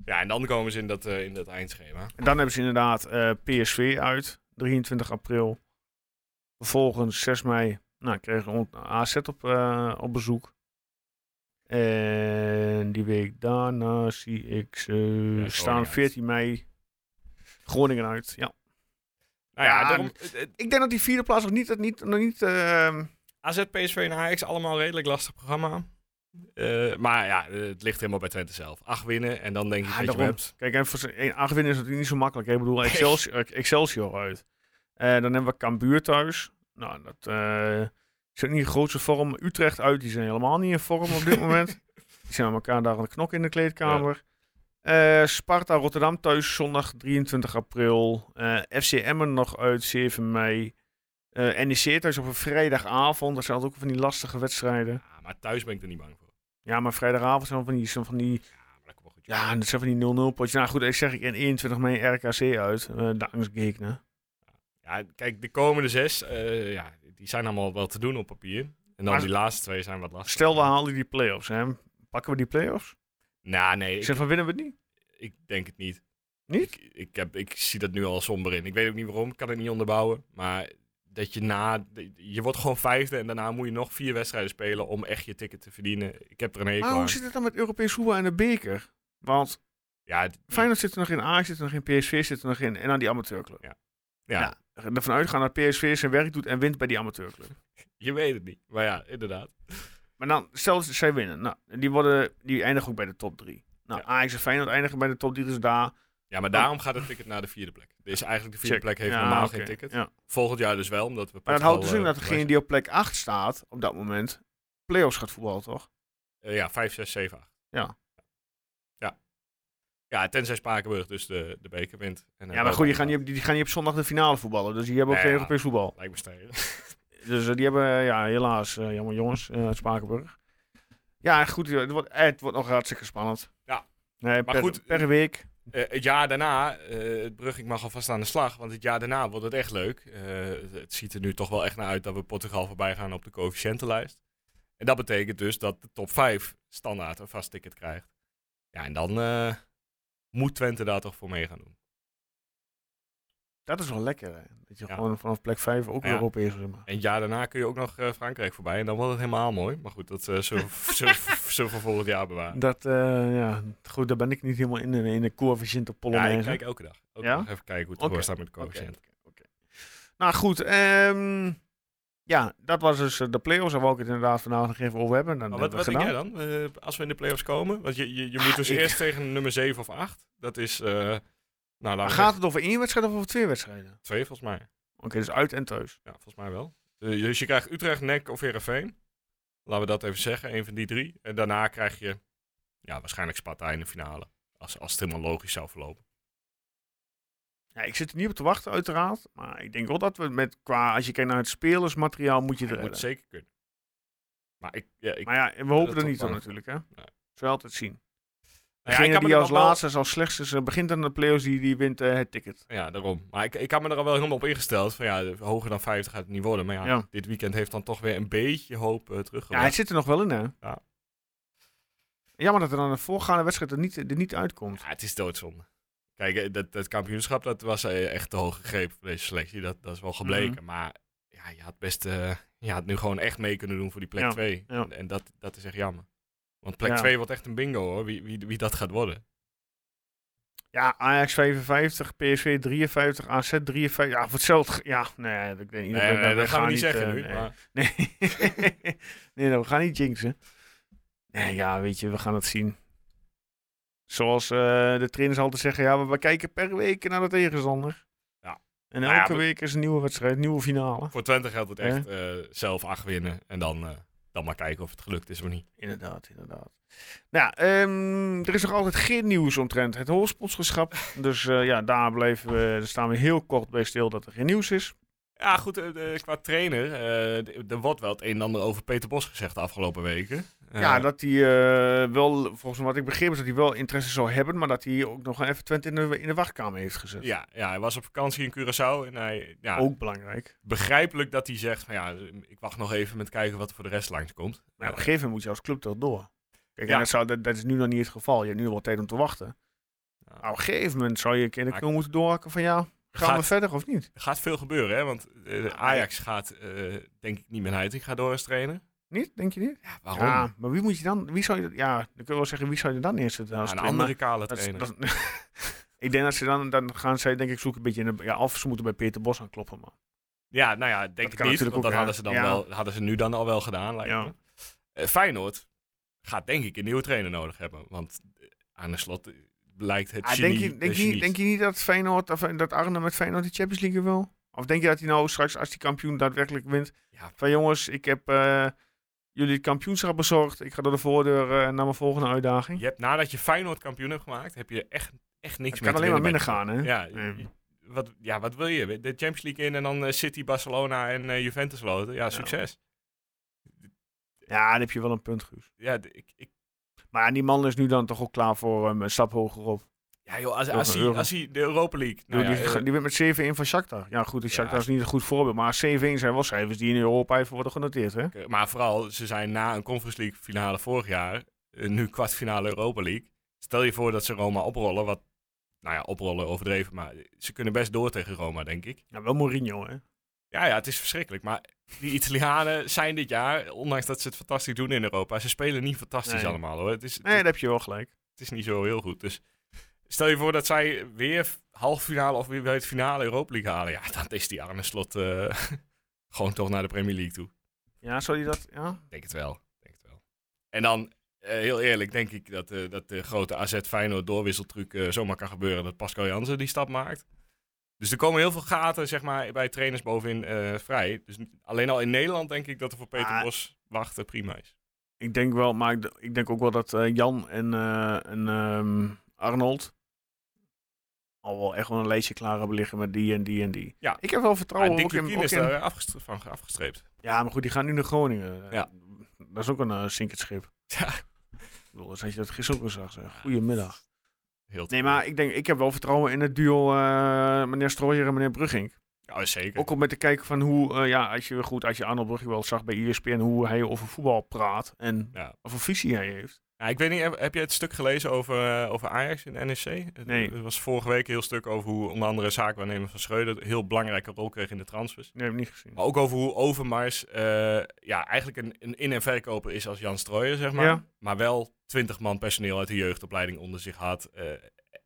Speaker 5: Ja, en dan komen ze in dat, eh, in dat eindschema.
Speaker 1: En dan hebben ze inderdaad eh, PSV uit, 23 april. Vervolgens, 6 mei, nou, kregen we ont- AZ op, eh, op bezoek. En die week daarna zie ik ze
Speaker 5: Ja,
Speaker 1: staan
Speaker 5: Groningen
Speaker 1: 14 mei Groningen uit. Ja.
Speaker 5: Nou ja,
Speaker 1: Ja,
Speaker 5: daarom, het- het-
Speaker 1: Ik denk dat die vierde plaats nog niet... dat niet, nog niet ehm,
Speaker 5: AZ, PSV en Ajax, allemaal redelijk lastig programma. Eh, maar ja, eh, het ligt helemaal bij Twente zelf. Acht winnen en dan denk je
Speaker 1: Ja,
Speaker 5: dat je hem
Speaker 1: daarom.
Speaker 5: hebt.
Speaker 1: Kijk, en voor z'n- één aangewinnen is natuurlijk niet zo makkelijk. hè. Ik bedoel, Excelsior, Excelsior uit. Eh, dan hebben we Cambuur thuis. Nou, dat eh, is ook niet in grootste vorm. Utrecht uit, die zijn helemaal niet in vorm op dit moment. Die zijn aan elkaar daar aan de knok in de kleedkamer. Eh, Sparta Rotterdam thuis zondag 23 april. Eh, FC Emmen nog uit 7 mei. Eh NEC thuis op een vrijdagavond. Dat zijn altijd ook van die lastige wedstrijden.
Speaker 5: Ja, maar thuis ben ik er niet bang voor.
Speaker 1: Ja, maar vrijdagavond zijn van die, zijn van die,
Speaker 5: Ja, maar dat komt wel goed. joh.
Speaker 1: ja, dat zijn van die 0-0 potjes. Nou goed, ik zeg ik en 21 mei RKC uit. Eh de angstgegner.
Speaker 5: Ja, kijk, de komende zes, eh, ja, die zijn allemaal wel te doen op papier. En dan
Speaker 1: Maar-
Speaker 5: die laatste twee zijn wat lastig.
Speaker 1: Stel, we halen die play-offs. Hè? Pakken we die play-offs?
Speaker 5: Nou, nee,
Speaker 1: Ik
Speaker 5: ik,
Speaker 1: zeg van, winnen we het niet?
Speaker 5: ik denk het niet.
Speaker 1: Niet?
Speaker 5: Ik, ik, heb, ik zie dat nu al somber in. Ik weet ook niet waarom, ik kan het niet onderbouwen. Maar dat je na, je wordt gewoon vijfde en daarna moet je nog vier wedstrijden spelen om echt je ticket te verdienen. Ik heb er een hekel
Speaker 1: Maar hoe
Speaker 5: aan.
Speaker 1: zit het dan met Europees voetbal en de beker? Want
Speaker 5: Ja, het-
Speaker 1: Feyenoord zit er nog in, Ajax zit er nog in, PSV zit er nog in en dan die amateurclub.
Speaker 5: ja,
Speaker 1: ja. Ervan uitgaan dat PSV zijn werk doet en wint bij die amateurclub.
Speaker 5: je weet het niet. Maar ja, inderdaad.
Speaker 1: Maar dan, stel dat zij winnen. Nou, die, worden, die eindigen ook bij de top 3. Nou,
Speaker 5: Ja.
Speaker 1: Ajax en Feyenoord eindigen bij de top 3, dus daar...
Speaker 5: Ja, maar daarom gaat het ticket naar de vierde plek. Dus eigenlijk de vierde
Speaker 1: Check.
Speaker 5: plek heeft
Speaker 1: Ja,
Speaker 5: normaal
Speaker 1: oké.
Speaker 5: geen ticket.
Speaker 1: Ja.
Speaker 5: Volgend jaar dus wel, omdat we...
Speaker 1: Maar dat
Speaker 5: Portugal,
Speaker 1: houdt dus
Speaker 5: eh,
Speaker 1: in dat degene
Speaker 5: wijzen.
Speaker 1: die op plek 8 staat, op dat moment, play-offs gaat voetballen, toch?
Speaker 5: Eh, ja, 5, 6, 7, 8.
Speaker 1: Ja.
Speaker 5: Ja. Ja, tenzij Spakenburg dus de, de beker wint. En eh,
Speaker 1: Ja, maar goed, die gaan, niet op, die gaan niet op zondag de finale voetballen, dus die hebben ook
Speaker 5: Nee,
Speaker 1: geen
Speaker 5: ja.
Speaker 1: Europees voetbal.
Speaker 5: Lijkt me stijl.
Speaker 1: Dus eh, die hebben, eh, ja, helaas, eh, jammer jongens, eh, uit Spakenburg. Ja, goed, eh, het wordt, eh, het wordt nog hartstikke spannend.
Speaker 5: Ja.
Speaker 1: Nee,
Speaker 5: Maar
Speaker 1: per,
Speaker 5: goed,
Speaker 1: per week.
Speaker 5: Eh, het jaar daarna, eh het Brugging mag alvast aan de slag, want het jaar daarna wordt het echt leuk. Eh, het ziet er nu toch wel echt naar uit dat we Portugal voorbij gaan op de coëfficiëntenlijst. En dat betekent dus dat de top 5 standaard een vast ticket krijgt. Ja, en dan eh, moet Twente daar toch voor mee gaan doen.
Speaker 1: Dat is wel lekker, hè. Dat je
Speaker 5: Ja.
Speaker 1: gewoon vanaf plek 5 ook
Speaker 5: Ja.
Speaker 1: weer Europees zeg maar.
Speaker 5: En het jaar daarna kun je ook nog eh, Frankrijk voorbij en dan wordt het helemaal mooi. Maar goed, dat eh zullen we- (laughs) zullen we zullen we voor volgend jaar bewaren.
Speaker 1: Dat, eh, ja, goed, daar ben ik niet helemaal in, eh, in, in de coëfficiënte
Speaker 5: Ja,
Speaker 1: Polonaise.
Speaker 5: ik kijk elke dag. Elke
Speaker 1: Ja?
Speaker 5: dag even kijken hoe het
Speaker 1: Oké.
Speaker 5: ervoor staat met de
Speaker 1: Oké,
Speaker 5: coëfficiënt.
Speaker 1: oké, oké. Nou goed, ehm, ja, dat was dus eh, de play-offs. Daar wou ik het inderdaad vanavond nog even over hebben. Dan
Speaker 5: Maar wat
Speaker 1: hebben
Speaker 5: wat
Speaker 1: we
Speaker 5: denk jij
Speaker 1: gedaan. Ah,
Speaker 5: dan, eh, als we in de play-offs komen? Want je, je, je moet dus
Speaker 1: ik-
Speaker 5: eerst tegen nummer 7 of 8. Dat is, eh, nou, laten
Speaker 1: Maar
Speaker 5: we
Speaker 1: gaat
Speaker 5: zeggen,
Speaker 1: het over één wedstrijd of over twee wedstrijden?
Speaker 5: twee volgens mij.
Speaker 1: Oké, dus uit en thuis.
Speaker 5: Ja, volgens mij wel. Eh, Dus je krijgt Utrecht, NEC of Heerenveen. Laten we dat even zeggen, een van die drie. En daarna krijg je ja, waarschijnlijk Sparta in de finale. Als, als het helemaal logisch zou verlopen.
Speaker 1: Ja, ik zit er niet op te wachten, uiteraard. Maar ik denk wel dat we met, qua, als je kijkt naar het spelersmateriaal, moet je
Speaker 5: Dat
Speaker 1: er
Speaker 5: moet
Speaker 1: redden.
Speaker 5: zeker kunnen. Maar ik, ja, ik,
Speaker 1: Maar ja, we hopen
Speaker 5: dat
Speaker 1: er
Speaker 5: toch
Speaker 1: niet van
Speaker 5: wel.
Speaker 1: natuurlijk, hè.
Speaker 5: Nee.
Speaker 1: Zul je altijd zien.
Speaker 5: Nou ja, ik
Speaker 1: Degene
Speaker 5: kan me
Speaker 1: die als
Speaker 5: er nog wel-
Speaker 1: laatste, als slechtste eh, begint aan de play-offs, die, die wint eh, het ticket.
Speaker 5: Ja, daarom. Maar ik, ik had me er al wel helemaal op ingesteld. Van ja, hoger dan 50 gaat het niet worden. Maar ja,
Speaker 1: Ja.
Speaker 5: dit weekend heeft dan toch weer een beetje hoop eh
Speaker 1: Ja,
Speaker 5: teruggebracht.
Speaker 1: het zit er nog wel in, hè.
Speaker 5: Ja.
Speaker 1: Jammer dat er dan de voorgaande wedstrijd er niet, er niet uitkomt.
Speaker 5: Ja, het is doodzonde. Kijk, eh, dat, dat kampioenschap dat was eh, echt te hoog gegrepen voor deze selectie. Dat, dat is wel gebleken.
Speaker 1: Mhm.
Speaker 5: Maar ja, je had best eh, je had nu gewoon echt mee kunnen doen voor die plek
Speaker 1: Ja,
Speaker 5: 2.
Speaker 1: ja.
Speaker 5: En, en dat, dat is echt jammer. Want plek
Speaker 1: Ja.
Speaker 5: 2 wordt echt een bingo hoor, wie, wie, wie dat gaat worden.
Speaker 1: Ja, Ajax 55, PSV 53, AZ 53. Ja, voor hetzelfde. ge- Ja, nee, ik weet niet.
Speaker 5: Nee, nee, dat gaan we niet zeggen
Speaker 1: eh,
Speaker 5: nu.
Speaker 1: Nee,
Speaker 5: Maar,
Speaker 1: nee. nee nou, we gaan niet jinxen. Nee, ja, weet je, we gaan het zien. Zoals eh, de trainers altijd zeggen, ja, we, we kijken per week naar de tegenstander.
Speaker 5: Ja.
Speaker 1: En
Speaker 5: Nou
Speaker 1: elke
Speaker 5: ja, maar-
Speaker 1: week is een nieuwe wedstrijd, nieuwe finale.
Speaker 5: voor Twente geldt het echt eh, zelf acht winnen. En dan, eh, dan maar kijken of het gelukt is of niet.
Speaker 1: Inderdaad, inderdaad. Nou, ehm, er is nog altijd geen nieuws omtrent het
Speaker 5: (laughs)
Speaker 1: hoofdsponsorschap. Dus eh, ja, daar, blijven we, daar staan we heel kort bij stil dat er geen nieuws is.
Speaker 5: Ja, goed, eh, eh, qua trainer. eh, d- er wordt wel het een en ander over Peter Bos gezegd de afgelopen weken. Eh,
Speaker 1: Ja, dat hij eh, wel, volgens mij wat ik begreep, is dat hij wel interesse zou hebben, maar dat hij ook nog even Twente in de, in de wachtkamer heeft gezet.
Speaker 5: ja, ja, hij was op vakantie in Curaçao en hij, ja,
Speaker 1: Ook belangrijk.
Speaker 5: begrijpelijk dat hij zegt van ja, ik wacht nog even met kijken wat er voor de rest langskomt.
Speaker 1: Maar ja, op
Speaker 5: komt.
Speaker 1: een gegeven moment moet je als club toch door. Kijk, en
Speaker 5: Ja.
Speaker 1: dat, zou, dat, dat is nu nog niet het geval. Je hebt nu wel tijd om te wachten.
Speaker 5: Ja.
Speaker 1: Maar op een gegeven moment zou je in de
Speaker 5: Maar-
Speaker 1: knul moeten doorhakken van ja, gaan we
Speaker 5: Gaat-
Speaker 1: verder of niet?
Speaker 5: Er gaat veel gebeuren, hè? Want eh, Ajax gaat, eh, denk ik, niet met Heitinga door als trainer.
Speaker 1: Niet, denk je niet?
Speaker 5: Ja, waarom?
Speaker 1: Ja, maar wie moet je dan, wie zou je, ja, dan kun je wel zeggen, wie zou je dan eerst het eh,
Speaker 5: Ja, een andere kale trainer.
Speaker 1: (laughs) ik denk dat ze dan, dan gaan zij denk ik zoeken een beetje in de, ja, of ze moeten bij Peter Bos aan kloppen, man.
Speaker 5: ja, nou ja, denk
Speaker 1: kan
Speaker 5: ik niet.
Speaker 1: natuurlijk
Speaker 5: Want
Speaker 1: ook,
Speaker 5: dat hadden
Speaker 1: hè.
Speaker 5: ze, dan
Speaker 1: Ja.
Speaker 5: wel, hadden ze nu dan al wel gedaan, lijkt
Speaker 1: Ja.
Speaker 5: me. Eh, Feyenoord gaat denk ik een nieuwe trainer nodig hebben. Want eh, aan de slot eh, blijkt het
Speaker 1: Ah,
Speaker 5: genie...
Speaker 1: denk, je, denk,
Speaker 5: de
Speaker 1: je,
Speaker 5: genies.
Speaker 1: denk je niet dat, Feyenoord, of, eh, dat Arne met Feyenoord de Champions League wil? Of denk je dat hij nou straks, als die kampioen daadwerkelijk wint,
Speaker 5: Ja.
Speaker 1: van jongens, ik heb eh, jullie het kampioenschap bezorgd. Ik ga door de voordeur eh, naar mijn volgende uitdaging.
Speaker 5: Je hebt, nadat je Feyenoord kampioen hebt gemaakt, heb je echt, echt niks
Speaker 1: het
Speaker 5: meer
Speaker 1: kan
Speaker 5: te
Speaker 1: alleen maar
Speaker 5: winnen
Speaker 1: minder
Speaker 5: bij-
Speaker 1: gaan, hè?
Speaker 5: Ja,
Speaker 1: Ja.
Speaker 5: je- Wat, ja, wat wil je? De Champions League in en dan eh, City, Barcelona en eh, Juventus loten. Ja, succes.
Speaker 1: Ja, dan heb je wel een punt, Guus.
Speaker 5: Ja, d- ik, ik,
Speaker 1: Maar ja, die man is nu dan toch ook klaar voor ehm, een stap hoger op.
Speaker 5: ja joh, als,
Speaker 1: Euro-
Speaker 5: als, hij,
Speaker 1: euro.
Speaker 5: als hij de Europa League... Nou
Speaker 1: Doe,
Speaker 5: ja,
Speaker 1: die,
Speaker 5: eh,
Speaker 1: die werd met 7-1 van Shakhtar. Ja goed, Shakhtar
Speaker 5: Ja.
Speaker 1: is niet een goed voorbeeld. Maar 7-1 zijn wel cijfers die in Europa even worden genoteerd, hè?
Speaker 5: Oké, eh, Maar vooral, ze zijn na een Conference League finale vorig jaar, eh, nu kwartfinale Europa League. Stel je voor dat ze Roma oprollen, wat, nou ja, oprollen overdreven, maar ze kunnen best door tegen Roma, denk ik.
Speaker 1: Ja, wel Mourinho, hè?
Speaker 5: Ja, ja, het is verschrikkelijk, maar die Italianen zijn dit jaar, ondanks dat ze het fantastisch doen in Europa, ze spelen niet fantastisch
Speaker 1: Nee.
Speaker 5: allemaal hoor. Het is,
Speaker 1: Nee,
Speaker 5: het,
Speaker 1: daar heb je wel gelijk.
Speaker 5: het is niet zo heel goed, dus stel je voor dat zij weer halve finale of weer bij het finale Europa League halen. Ja, dan is die arme slot eh, (laughs) gewoon toch naar de Premier League toe.
Speaker 1: Ja, zou die dat... Ja?
Speaker 5: Ik Denk het wel. ik Denk het wel. En dan, eh, heel eerlijk, denk ik dat, eh, dat de grote AZ Feyenoord doorwisseltruc eh, zomaar kan gebeuren. Dat Pascal Jansen die stap maakt. Dus er komen heel veel gaten zeg maar, bij trainers bovenin eh, vrij. Dus n- alleen al in Nederland denk ik dat er voor Peter
Speaker 1: Ah.
Speaker 5: Bos wachten prima is.
Speaker 1: Ik denk wel, maar ik, d- ik denk ook wel dat eh, Jan en, eh, en ehm, Arnold al wel echt wel een lijstje klaar hebben liggen met die en die en die.
Speaker 5: Ja.
Speaker 1: Ik heb wel
Speaker 5: Maar
Speaker 1: vertrouwen ook
Speaker 5: Ah, Dick
Speaker 1: in...
Speaker 5: Lukien
Speaker 1: ook
Speaker 5: is
Speaker 1: in-
Speaker 5: daar afgestre- van afgestreept.
Speaker 1: Ja, maar goed, die gaan nu naar Groningen. Eh,
Speaker 5: Ja.
Speaker 1: Dat is ook een eh, zinkend (laughs) schip.
Speaker 5: Ja.
Speaker 1: Ik bedoel, als je dat gisteren ook al zag, zeg. Goedemiddag.
Speaker 5: Heel
Speaker 1: Nee,
Speaker 5: te-
Speaker 1: maar ik denk, ik heb wel vertrouwen in het duo eh, meneer Strooijer en meneer Brugging.
Speaker 5: Ja, zeker.
Speaker 1: Ook om met te kijken van hoe, eh, ja, als je goed, als je Arnold Brugging wel zag bij E ESPN, hoe hij over voetbal praat en
Speaker 5: Ja.
Speaker 1: over visie hij heeft.
Speaker 5: Ja, ik weet niet, heb, heb je het stuk gelezen over, eh, over Ajax en NEC? Het-
Speaker 1: Nee.
Speaker 5: Er was vorige week een heel stuk over hoe onder andere zaakwaarnemer van Schreuder een heel belangrijke rol kreeg in de transfers.
Speaker 1: Nee, heb ik niet gezien.
Speaker 5: Maar ook over hoe Overmars eh, ja, eigenlijk een, een in- en verkoper is als Jan Strooijer, zeg maar.
Speaker 1: Ja.
Speaker 5: Maar wel 20 man personeel uit de jeugdopleiding onder zich had. eh,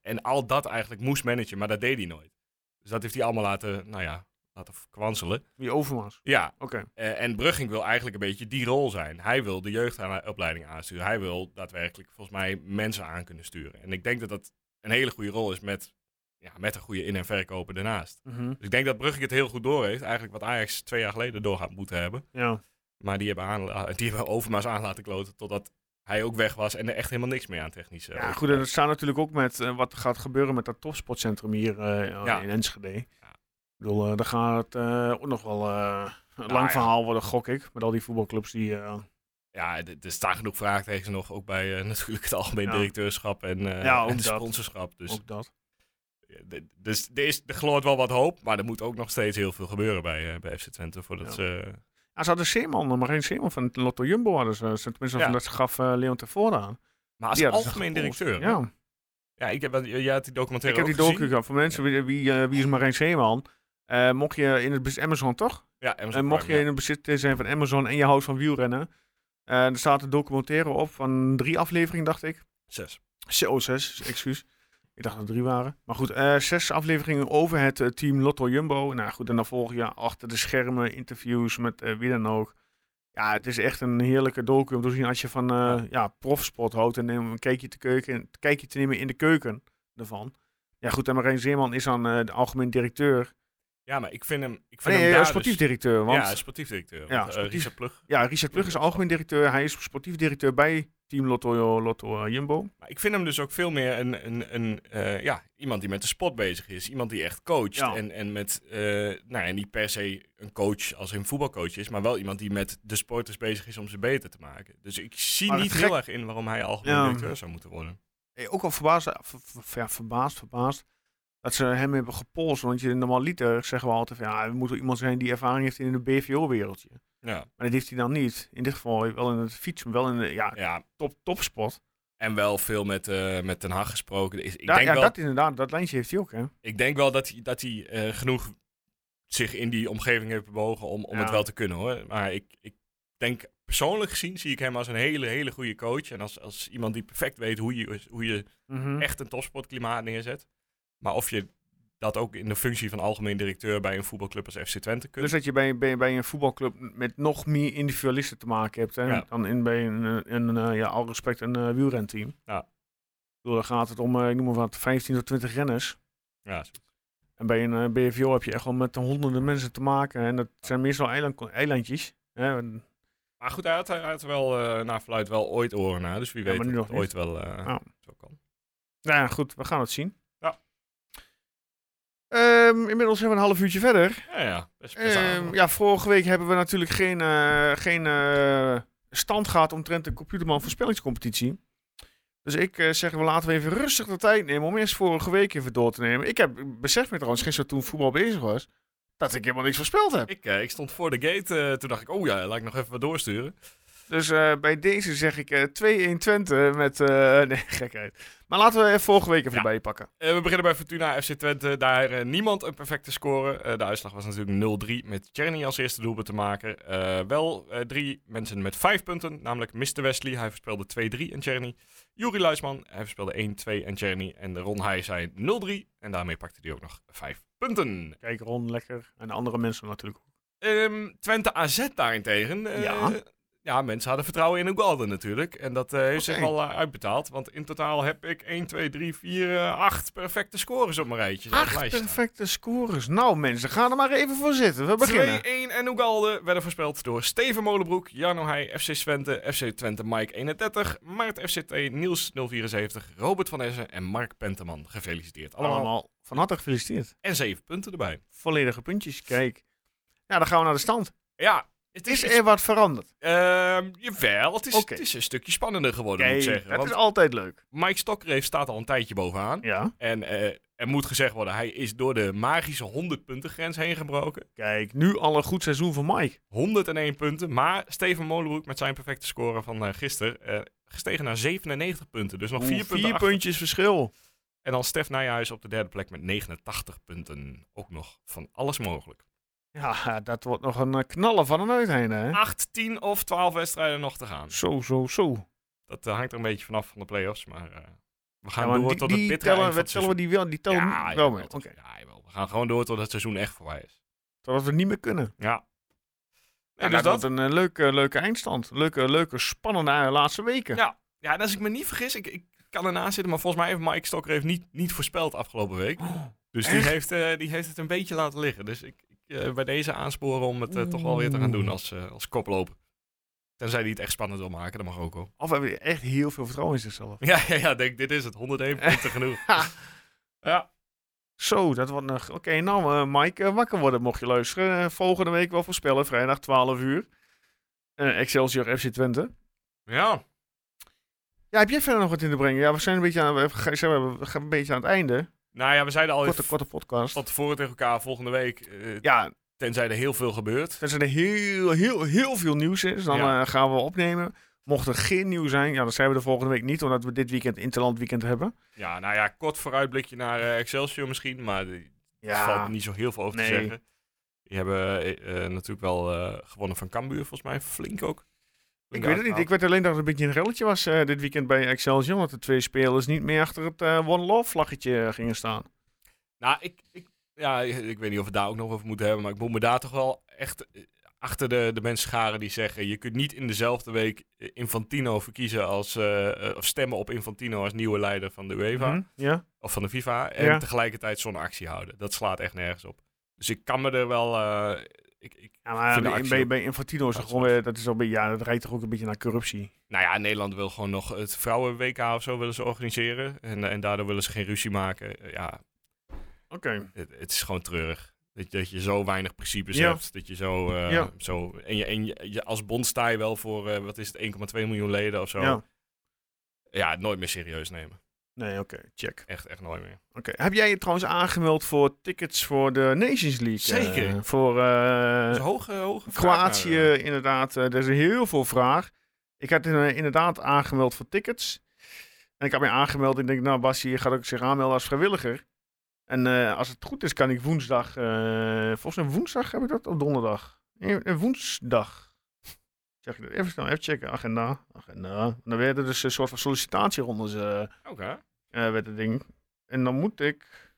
Speaker 5: en al dat eigenlijk moest managen, maar dat deed hij nooit. Dus dat heeft hij allemaal laten, nou ja, laten kwanselen.
Speaker 1: Wie Overmars.
Speaker 5: Ja,
Speaker 1: Oké.
Speaker 5: eh, en Brugging wil eigenlijk een beetje die rol zijn. Hij wil de jeugdopleiding aansturen. Hij wil daadwerkelijk volgens mij mensen aan kunnen sturen. En ik denk dat dat een hele goede rol is met, ja, met een goede in- en verkoper daarnaast.
Speaker 1: Mhm.
Speaker 5: Dus ik denk dat Brugging het heel goed door heeft. Eigenlijk wat Ajax twee jaar geleden door had moeten hebben.
Speaker 1: Ja.
Speaker 5: Maar die hebben, aan, eh, die hebben Overmaas aan laten kloten totdat hij ook weg was en er echt helemaal niks meer aan technisch. eh,
Speaker 1: ja,
Speaker 5: over-
Speaker 1: goed. En dat staat natuurlijk ook met eh, wat gaat gebeuren met dat topsportcentrum hier eh,
Speaker 5: Ja.
Speaker 1: in Enschede. Ik bedoel, eh, daar gaat het eh, ook nog wel eh, een lang
Speaker 5: Nou ja.
Speaker 1: verhaal worden, gok ik. Met al die voetbalclubs die... eh,
Speaker 5: Ja, d- er staan genoeg vraagtekens nog, ook bij eh, (laughs) natuurlijk het algemeen
Speaker 1: Ja.
Speaker 5: directeurschap en, eh,
Speaker 1: Ja, ook
Speaker 5: en de
Speaker 1: dat.
Speaker 5: sponsorschap. Dus,
Speaker 1: ook dat.
Speaker 5: ja, d- dus er, is, er gloort wel wat hoop, maar er moet ook nog steeds heel veel gebeuren bij, eh, bij FC Twente voordat
Speaker 1: Ja.
Speaker 5: ze... eh,
Speaker 1: Ja, ze hadden Zeeman, maar geen Zeeman van het Lotto Jumbo hadden ze. Ze- Tenminste,
Speaker 5: Ja.
Speaker 1: van dat ze gaf eh, Leon Tevoren aan.
Speaker 5: maar als
Speaker 1: Die hadden ze
Speaker 5: algemeen
Speaker 1: gekozen.
Speaker 5: directeur... Ja.
Speaker 1: Ja,
Speaker 5: ik heb, wel- jij had die
Speaker 1: ik
Speaker 5: documentaire
Speaker 1: heb
Speaker 5: ook
Speaker 1: die docu
Speaker 5: gezien.
Speaker 1: gehad. Voor mensen, wie, wie, eh, wie is Marijn Zeeman? Eh, mocht je in het bezit... Amazon, toch?
Speaker 5: Ja, Amazon
Speaker 1: En mocht
Speaker 5: Prime,
Speaker 1: je in het bezit zijn van Amazon en je houdt van wielrennen... eh, er staat een documentaire op van drie afleveringen, dacht ik.
Speaker 5: ja. Zes.
Speaker 1: CO6, excuus. Ik dacht dat het drie waren. Maar goed, eh, zes afleveringen over het eh, team Lotto Jumbo. Nou goed, en dan volg je achter de schermen interviews met eh, wie dan ook. Ja, het is echt een heerlijke docu om te zien als je van eh, ja. profsport houdt en neem een kijkje te, keuken, een kijkje te nemen in de keuken ervan. Ja goed, en Marijn Zeeman is dan eh, de algemeen directeur.
Speaker 5: Ja, maar ik vind hem... Ik vind
Speaker 1: Nee,
Speaker 5: hem
Speaker 1: eh,
Speaker 5: daar
Speaker 1: sportief
Speaker 5: dus,
Speaker 1: directeur. Want,
Speaker 5: Ja, sportief directeur.
Speaker 1: Ja,
Speaker 5: want, eh,
Speaker 1: sportief.
Speaker 5: Richard Plug
Speaker 1: ja, Richard Plug is algemeen directeur. Hij is sportief directeur bij team Lotto, Lotto eh, Jumbo.
Speaker 5: Maar ik vind hem dus ook veel meer een, een, een, eh, ja, iemand die met de sport bezig is. Iemand die echt coacht.
Speaker 1: Ja.
Speaker 5: En, en, met, eh, nou, en niet per se een coach als een voetbalcoach is. Maar wel iemand die met de sporters bezig is om ze beter te maken. Dus ik zie
Speaker 1: Maar het
Speaker 5: niet
Speaker 1: gek-
Speaker 5: heel erg in waarom hij algemeen
Speaker 1: Ja.
Speaker 5: directeur zou moeten worden.
Speaker 1: Eh, ook al verbaasd, ver- ver- ja, verbaasd, verbaasd dat ze hem hebben gepolst. Want je normaal liter zeggen we altijd van ja, er moet wel iemand zijn die ervaring heeft in het BVO-wereldje.
Speaker 5: Ja,
Speaker 1: Maar dat heeft hij dan niet. In dit geval wel in het fietsen, wel in de ja,
Speaker 5: ja.
Speaker 1: top, topspot.
Speaker 5: En wel veel met, eh, met Den Haag gesproken. Ik, ik
Speaker 1: Ja,
Speaker 5: denk,
Speaker 1: ja
Speaker 5: wel,
Speaker 1: dat inderdaad, dat lijntje heeft hij ook hè.
Speaker 5: ik denk wel dat hij, dat hij eh, genoeg zich in die omgeving heeft bewogen om, om
Speaker 1: Ja.
Speaker 5: het wel te kunnen hoor. Maar ik, ik denk persoonlijk gezien zie ik hem als een hele, hele goede coach. En als, als iemand die perfect weet hoe je, hoe je
Speaker 1: Mhm.
Speaker 5: echt een topsportklimaat neerzet. Maar of je dat ook in de functie van algemeen directeur bij een voetbalclub als FC Twente kunt.
Speaker 1: Dus dat je bij, bij, bij een voetbalclub met nog meer individualisten te maken hebt hè,
Speaker 5: Ja.
Speaker 1: dan in, bij een, eh, een, eh, ja, al respect, een eh, wielrenteam.
Speaker 5: Ja.
Speaker 1: Ik bedoel, dan gaat het om, eh, ik noem maar wat, 15 tot 20 renners.
Speaker 5: ja, zo-
Speaker 1: En bij een eh, BVO heb je echt wel met honderden mensen te maken. En dat zijn meestal eiland, eilandjes. Hè? Nou En
Speaker 5: Maar goed, hij had, hij had wel eh naar verluid wel ooit oren naar. Dus wie
Speaker 1: Ja,
Speaker 5: weet
Speaker 1: maar nu
Speaker 5: dat
Speaker 1: nog
Speaker 5: het ooit wel eh,
Speaker 1: Ja.
Speaker 5: zo kan.
Speaker 1: Nou ja, goed, we gaan het zien.
Speaker 5: Ja.
Speaker 1: Ehm, inmiddels zijn we een half uurtje verder.
Speaker 5: Ja, ja. Best
Speaker 1: Ehm,
Speaker 5: um,
Speaker 1: ja, vorige week hebben we natuurlijk geen, eh, geen eh, stand gehad omtrent de Computerman voorspellingscompetitie. Dus ik eh, zeg, we laten we even rustig de tijd nemen om eerst vorige week even door te nemen. Ik heb, ik besef me trouwens, gisteren toen voetbal bezig was, dat ik helemaal niks voorspeld heb.
Speaker 5: ik, eh, ik stond voor de gate. eh, toen dacht ik, oh ja, laat ik nog even wat doorsturen.
Speaker 1: Dus eh, bij deze zeg ik eh 2-1 Twente met... eh, (laughs) nee, gekheid. Maar laten we even vorige week even
Speaker 5: Ja.
Speaker 1: erbij pakken.
Speaker 5: Eh, we beginnen bij Fortuna FC Twente. Daar eh, niemand een perfecte score. Eh, de uitslag was natuurlijk 0-3 met Tjerni als eerste doelpunt te maken. Eh, wel eh, drie mensen met vijf punten, namelijk Mr. Wesley. Hij voorspelde 2-3 en Tjerni. Juri Luisman, hij voorspelde 1-2 en Tjerni. En de Ron Heij zei 0-3 en daarmee pakte hij ook nog vijf punten.
Speaker 1: Kijk, Ron, lekker. En de andere mensen natuurlijk ook.
Speaker 5: Ehm, Twente AZ daarentegen. eh,
Speaker 1: Ja.
Speaker 5: ja, mensen hadden vertrouwen in Ugalde natuurlijk. En dat eh, heeft zich
Speaker 1: Oké.
Speaker 5: al eh, uitbetaald. Want in totaal heb ik 1, 2, 3, 4, eh, 8 perfecte scores op mijn rijtje. Op het
Speaker 1: Acht
Speaker 5: lijstje.
Speaker 1: perfecte scores. Nou mensen, ga er maar even voor zitten. We beginnen.
Speaker 5: 2-1 en Ugalde werden voorspeld door Steven Molenbroek, Jan Heij, FC Twente, FC Twente Mike 31, Maart FCT, Niels 074, Robert van Essen en Mark Penteman. Gefeliciteerd allemaal.
Speaker 1: Allemaal van harte gefeliciteerd.
Speaker 5: En 7 punten erbij.
Speaker 1: Volledige puntjes, kijk. Ja, dan gaan we naar de stand.
Speaker 5: Ja, het
Speaker 1: Is
Speaker 5: is,
Speaker 1: er wat veranderd?
Speaker 5: ehm, jawel, het is,
Speaker 1: Oké.
Speaker 5: het is een stukje spannender geworden,
Speaker 1: Kijk,
Speaker 5: moet ik zeggen.
Speaker 1: dat
Speaker 5: Want
Speaker 1: is altijd leuk.
Speaker 5: Mike Stokreef staat al een tijdje bovenaan.
Speaker 1: Ja.
Speaker 5: En eh, er moet gezegd worden, hij is door de magische 100 punten grens heen gebroken.
Speaker 1: Kijk, nu al een goed seizoen voor Mike.
Speaker 5: 101 punten. Maar Steven Molenbroek met zijn perfecte score van eh, gisteren eh, gestegen naar 97 punten. Dus nog
Speaker 1: Oeh,
Speaker 5: 4 punten. achter.
Speaker 1: puntjes verschil.
Speaker 5: En dan Stef Nijhuis op de derde plek met 89 punten. Ook nog van alles mogelijk.
Speaker 1: Ja, dat wordt nog een eh, knallen van een uiteinde, hè?
Speaker 5: 8, 10 of 12 wedstrijden nog te gaan.
Speaker 1: Ah. Zo, zo, zo.
Speaker 5: Dat eh, hangt er een beetje vanaf van de play-offs. Maar eh, we
Speaker 1: Ja,
Speaker 5: gaan
Speaker 1: maar
Speaker 5: door
Speaker 1: die,
Speaker 5: tot
Speaker 1: die
Speaker 5: het bittere
Speaker 1: tellen,
Speaker 5: eind van
Speaker 1: we
Speaker 5: het
Speaker 1: tellen we
Speaker 5: seizoen.
Speaker 1: die wel, die tellen
Speaker 5: ja,
Speaker 1: wel
Speaker 5: ja,
Speaker 1: mee.
Speaker 5: tot-
Speaker 1: Oké.
Speaker 5: ja, jawel. We gaan gewoon door tot het seizoen echt voorbij is.
Speaker 1: Totdat we het niet meer kunnen.
Speaker 5: Ja.
Speaker 1: Ja,
Speaker 5: En dus
Speaker 1: dat
Speaker 5: dat,
Speaker 1: wordt een eh, leuke, leuke eindstand. Leuke, leuke spannende eh, laatste weken.
Speaker 5: Ja. Ja, en als ik me niet vergis, ik, ik kan ernaast zitten, maar volgens mij heeft Mike Stokker heeft niet, niet voorspeld afgelopen week.
Speaker 1: Oh,
Speaker 5: Dus die heeft, eh, die heeft het een beetje laten liggen. Dus ik, ik eh, bij deze aansporen om het eh, toch wel weer te gaan doen als, eh, als koploper. Tenzij die het echt spannend wil maken, dat mag ook hoor. (laughs)
Speaker 1: Of hebben we echt heel veel vertrouwen in zichzelf.
Speaker 5: Ja, ja, ja, denk dit is het. 101 punten genoeg. Ja.
Speaker 1: Zo, dat wordt nog... Oké, nou eh, Mike, eh, wakker worden mocht je luisteren. Eh, volgende week wel voorspellen, vrijdag 12 uur. Eh, Excelsior FC Twente.
Speaker 5: Ja.
Speaker 1: Ja, heb jij verder nog wat in te brengen? Ja, we zijn een beetje aan, we gaan- zijn we- we gaan een beetje aan het einde.
Speaker 5: Nou ja, we zeiden al
Speaker 1: Korte,
Speaker 5: even
Speaker 1: korte podcast.
Speaker 5: van tevoren tegen elkaar volgende week. eh,
Speaker 1: Ja,
Speaker 5: Tenzij er heel veel gebeurt.
Speaker 1: als er heel, heel, heel veel nieuws is, dan
Speaker 5: Ja.
Speaker 1: eh, gaan we opnemen. Mocht er geen nieuws zijn, ja, dan zijn we de volgende week niet, omdat we dit weekend Interland Weekend hebben.
Speaker 5: Ja, nou ja, kort vooruitblikje naar eh, Excelsior misschien. Maar die- Er valt niet zo heel veel over te
Speaker 1: Nee.
Speaker 5: zeggen. Die hebben eh, eh, natuurlijk wel eh, gewonnen van Cambuur, volgens mij. Flink ook.
Speaker 1: Ik weet het
Speaker 5: nou.
Speaker 1: niet. Ik weet alleen dat het een beetje een relletje was eh, dit weekend bij Excelsior. Dat de twee spelers niet meer achter het eh, One Love vlaggetje eh, gingen staan.
Speaker 5: Nou, ik, ik, ja, ik weet niet of we het daar ook nog over moeten hebben. Maar ik moet me daar toch wel echt eh, achter de, de mensen scharen die zeggen... je kunt niet in dezelfde week eh, Infantino verkiezen als... eh, eh, of stemmen op Infantino als nieuwe leider van de UEFA.
Speaker 1: Mhm, Ja.
Speaker 5: Of van de FIFA. En
Speaker 1: Ja.
Speaker 5: tegelijkertijd zo'n actie houden. Dat slaat echt nergens op. Dus ik kan me er wel... eh, ik, ik,
Speaker 1: ja, maar
Speaker 5: Vind de
Speaker 1: bij,
Speaker 5: actie
Speaker 1: bij,
Speaker 5: ook-
Speaker 1: bij Infantino is het
Speaker 5: Dat is
Speaker 1: gewoon weer, dat is al bij, ja, dat rijdt toch ook een beetje naar corruptie.
Speaker 5: Nou ja, Nederland wil gewoon nog het vrouwen-WK of zo willen ze organiseren. En, eh, en daardoor willen ze geen ruzie maken. Eh, Ja,
Speaker 1: Oké.
Speaker 5: het, het is gewoon treurig. Dat, je- dat je zo weinig principes
Speaker 1: Ja.
Speaker 5: hebt. Dat je zo... eh,
Speaker 1: Ja.
Speaker 5: zo en je, en je, je- als bond sta je wel voor, eh, wat is het, 1,2 miljoen leden of zo.
Speaker 1: Ja.
Speaker 5: Ja. nooit meer serieus nemen.
Speaker 1: Nee, oké. Check.
Speaker 5: Echt, echt nooit meer.
Speaker 1: Oké. Heb jij je trouwens aangemeld voor tickets voor de Nations League? eh,
Speaker 5: Zeker.
Speaker 1: voor eh,
Speaker 5: Dat is een Dus hoge, hoge vraag
Speaker 1: Kroatië,
Speaker 5: naar, eh,
Speaker 1: inderdaad. eh, er is heel veel vraag. Ik had eh, inderdaad aangemeld voor tickets. En ik had mij aangemeld. Ik denk, nou, Bassi gaat ook zich aanmelden als vrijwilliger. En eh, als het goed is, kan ik woensdag. eh, volgens mij woensdag heb ik dat, of donderdag? Nee, eh, woensdag. Zeg ik dat even snel, even checken. Agenda. Agenda. En dan werden dus een soort van sollicitatierondes. eh,
Speaker 5: Oké.
Speaker 1: eh werd het ding. En dan moet ik.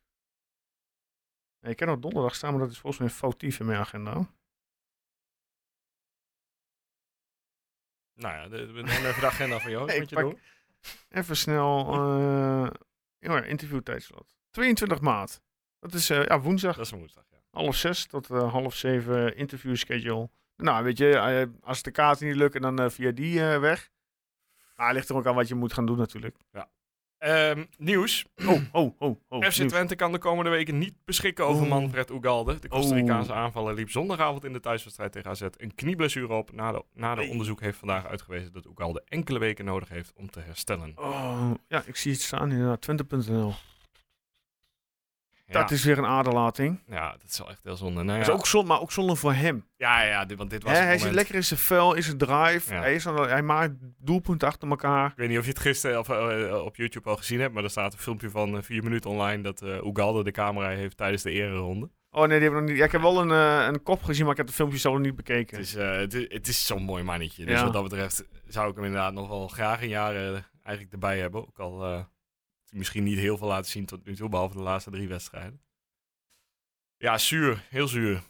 Speaker 1: Nee, ik kan op donderdag staan, maar dat is volgens mij foutief in mijn agenda.
Speaker 5: Nou ja, de- we nemen even de agenda van Joost.
Speaker 1: (laughs) Ik
Speaker 5: moet je
Speaker 1: pak-
Speaker 5: doen.
Speaker 1: Even snel. eh ja, interviewtijdslot. 22 maart. Dat is eh, ja, woensdag,
Speaker 5: Dat is een woensdag, ja.
Speaker 1: half zes tot eh, half zeven interview schedule. Nou, weet je, eh, als de kaarten niet lukken, dan eh, via die eh, weg. Maar het ligt er ook aan wat je moet gaan doen natuurlijk.
Speaker 5: Ehm, nieuws.
Speaker 1: Oh, oh, oh, oh.
Speaker 5: FC
Speaker 1: nieuws.
Speaker 5: Twente kan de komende weken niet beschikken over
Speaker 1: Oeh.
Speaker 5: Manfred Ugalde. De Costa
Speaker 1: Oeh.
Speaker 5: Ricaanse aanvaller liep zondagavond in de thuiswedstrijd tegen AZ een knieblessure op. Na de, na de onderzoek heeft vandaag uitgewezen dat Ugalde enkele weken nodig heeft om te herstellen.
Speaker 1: Oh, ja, ik zie het staan inderdaad. Twente.nl.
Speaker 5: Ja,
Speaker 1: Dat is weer een aderlating.
Speaker 5: ja, dat is wel echt heel zonde. Nou, ja.
Speaker 1: Dat is ook zonde, maar ook zonde voor hem.
Speaker 5: ja, ja, dit- want dit was
Speaker 1: Hè,
Speaker 5: het
Speaker 1: hij zit
Speaker 5: moment.
Speaker 1: lekker in zijn vel, in zijn drive.
Speaker 5: Ja.
Speaker 1: Hij, is aan de- hij maakt doelpunten achter elkaar.
Speaker 5: Ik weet niet of je het gisteren of, eh, op YouTube al gezien hebt, maar er staat een filmpje van eh, vier minuten online dat eh Ugalde de camera heeft tijdens de ereronde.
Speaker 1: Oh nee, die hebben we nog niet. Ja, ik heb wel een, eh, een kop gezien, maar ik heb de filmpjes zelf nog niet bekeken.
Speaker 5: Het is, eh, het is, het is zo'n mooi mannetje. Dus
Speaker 1: Ja.
Speaker 5: wat dat betreft zou ik hem inderdaad nog wel graag een jaar eh, eigenlijk erbij hebben. Ook al eh, heeft hij misschien niet heel veel laten zien tot nu toe, behalve de laatste drie wedstrijden. Ja, zuur. Heel zuur.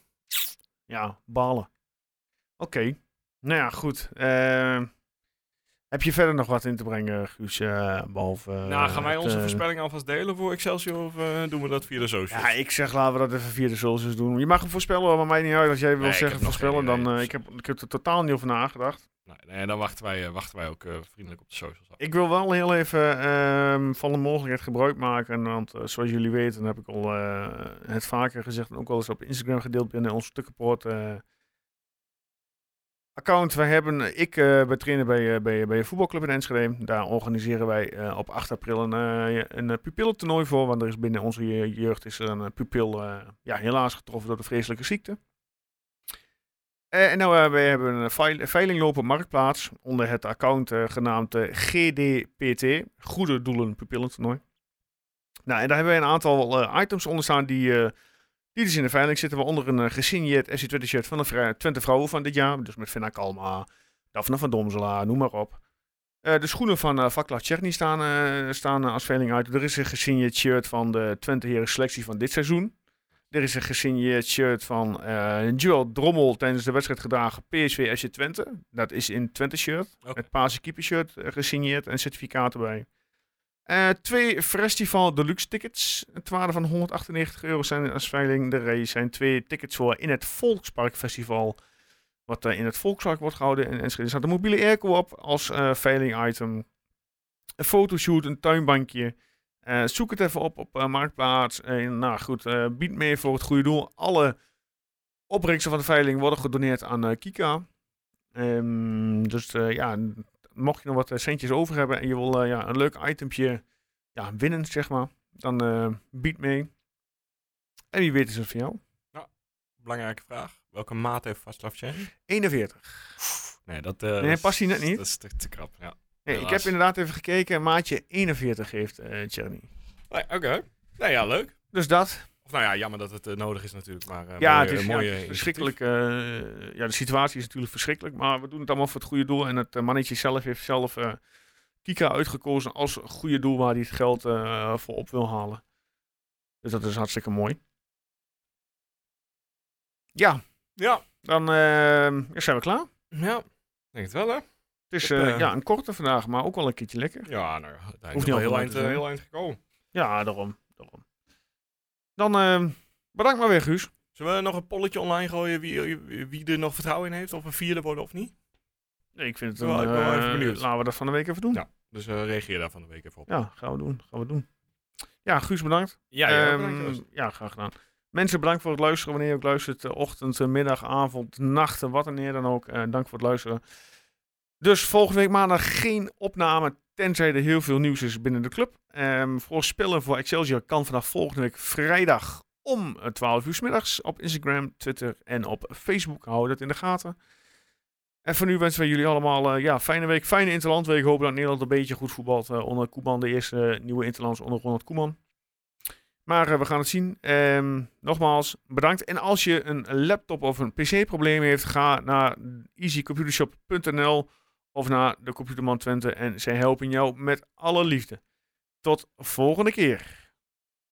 Speaker 1: Ja, balen. Oké. Nou ja, goed. Eh, heb je verder nog wat in te brengen, Guus? eh, behalve, eh,
Speaker 5: nou, gaan wij
Speaker 1: het,
Speaker 5: onze
Speaker 1: eh,
Speaker 5: voorspelling alvast delen voor Excelsior of eh, doen we dat via de socials?
Speaker 1: Ja, ik zeg laten we dat even via de socials doen. Je mag hem voorspellen, hoor, maar mij niet uit. Als jij wil
Speaker 5: ik heb
Speaker 1: zeggen
Speaker 5: nog
Speaker 1: voorspellen,
Speaker 5: geen idee,
Speaker 1: dan... eh,
Speaker 5: dus-
Speaker 1: ik, heb, ik heb er totaal niet over nagedacht.
Speaker 5: Nou, nee, dan wachten wij, eh, wachten wij ook eh, vriendelijk op de socials af.
Speaker 1: Ik wil wel heel even ehm, van de mogelijkheid gebruik maken. Want eh, zoals jullie weten, heb ik al eh, het vaker gezegd en ook wel eens op Instagram gedeeld binnen ons Stukkenpoort eh, account. Wij hebben, ik eh ben trainer bij, eh, bij, bij een voetbalclub in Enschede. Daar organiseren wij eh, op 8 april een, eh een eh, pupillentoernooi voor. Want er is binnen onze je- jeugd is er een eh, pupil eh, ja, helaas getroffen door de vreselijke ziekte. Eh, en nou, eh, wij hebben een veil- veiling lopen op Marktplaats onder het account eh, genaamd eh, GDPT, Goede Doelen Pupillentoernooi. Nou, en daar hebben wij een aantal eh, items onder staan die, eh, die dus in de veiling zitten. Waaronder een eh, gesigneerd FC Twente shirt van de vrij- Twente Vrouwen van dit jaar. Dus met Vinna Kalma, Daphne van Domsela, noem maar op. Eh, de schoenen van eh Vaklav Czerny staan, eh, staan eh, als veiling uit. Er is een gesigneerd shirt van de Twente Heren selectie van dit seizoen. Er is een gesigneerd shirt van eh Joel Drommel tijdens de wedstrijd gedragen PSV SC Twente. Dat is in Twente shirt.
Speaker 5: Oké.
Speaker 1: Het Paarse keeper shirt eh, gesigneerd en certificaat erbij. Eh, twee Festival Deluxe tickets. Het waarde van 198 euro zijn als veiling. Er zijn twee tickets voor in het Volkspark Festival. Wat eh, in het Volkspark wordt gehouden in Enschede. Er staat een mobiele airco op als eh, veiling item. Een fotoshoot, een tuinbankje. Eh, zoek het even op op eh, Marktplaats. En nou goed, eh, bied mee voor het goede doel. Alle opbrengsten van de veiling worden gedoneerd aan eh, Kika. Ehm, dus eh, ja, n- mocht je nog wat eh, centjes over hebben en je wil eh, ja, een leuk itempje ja, winnen, zeg maar, dan eh, bied mee. En wie weet is het voor jou.
Speaker 5: Belangrijke vraag. Welke maat heeft Vaslav Chen?
Speaker 1: 41.
Speaker 5: Nee, dat, eh,
Speaker 1: Nee,
Speaker 5: dat is-
Speaker 1: past hij net
Speaker 5: dat is-
Speaker 1: niet?
Speaker 5: Dat is te, te krap, ja.
Speaker 1: Nee, ik heb
Speaker 5: Helaas.
Speaker 1: inderdaad even gekeken. Maatje 41 heeft eh Tjerny.
Speaker 5: Nee, Oké. Nou ja, leuk.
Speaker 1: Dus dat.
Speaker 5: Of nou ja, jammer dat het eh, nodig is natuurlijk, maar eh,
Speaker 1: ja,
Speaker 5: mooie-
Speaker 1: het is ja,
Speaker 5: mooie
Speaker 1: het is
Speaker 5: initiatief.
Speaker 1: verschrikkelijk. eh, ja, de situatie is natuurlijk verschrikkelijk. Maar we doen het allemaal voor het goede doel. En het eh, mannetje zelf heeft zelf eh, Kika uitgekozen als goede doel waar hij het geld eh, voor op wil halen. Dus dat is hartstikke mooi. Ja,
Speaker 5: Ja,
Speaker 1: dan ehm, ja, zijn we klaar.
Speaker 5: ja. Ik Denk het wel, hè?
Speaker 1: Het is
Speaker 5: Ik heb,
Speaker 1: eh,
Speaker 5: eh,
Speaker 1: ja, een korte vandaag, maar ook wel een keertje lekker.
Speaker 5: Ja, nou, het
Speaker 1: niet
Speaker 5: is wel
Speaker 1: allemaal
Speaker 5: heel
Speaker 1: uit
Speaker 5: eind,
Speaker 1: te
Speaker 5: eh,
Speaker 1: zijn.
Speaker 5: heel eind gekomen.
Speaker 1: Ja, daarom. daarom. Dan ehm, bedankt maar weer, Guus.
Speaker 5: Zullen we nog een polletje online gooien wie, wie er nog vertrouwen in heeft? Of we vierde worden of niet?
Speaker 1: Nee, ik vind het
Speaker 5: Ik ben wel-
Speaker 1: een,
Speaker 5: ik ben wel even
Speaker 1: eh,
Speaker 5: benieuwd.
Speaker 1: Laten we dat van de week even doen.
Speaker 5: Ja. Dus eh, reageer daar van de week even op.
Speaker 1: ja, gaan we doen. Gaan we doen. Ja, Guus, bedankt.
Speaker 5: Ja,
Speaker 1: Ehm, ja, graag gedaan. Mensen, bedankt voor het luisteren. Wanneer je ook luistert, eh, ochtend, eh, middag, avond, nachten, wat en neer dan ook. Eh, dank voor het luisteren. Dus volgende week maandag geen opname, tenzij er heel veel nieuws is binnen de club. Ehm voorspellen voor Excelsior kan vanaf volgende week vrijdag om eh, 12 uur 's middags op Instagram, Twitter en op Facebook. Hou dat in de gaten. En voor nu wensen we jullie allemaal eh, ja, fijne week, fijne Interlandweek. Hopen dat Nederland een beetje goed voetbalt eh, onder Koeman, de eerste eh, nieuwe Interlands onder Ronald Koeman. Maar eh, we gaan het zien. Ehm, nogmaals, bedankt. En als je een laptop of een PC-probleem heeft, ga naar easycomputershop.nl of naar de Computerman Twente en zij helpen jou met alle liefde. Tot volgende keer.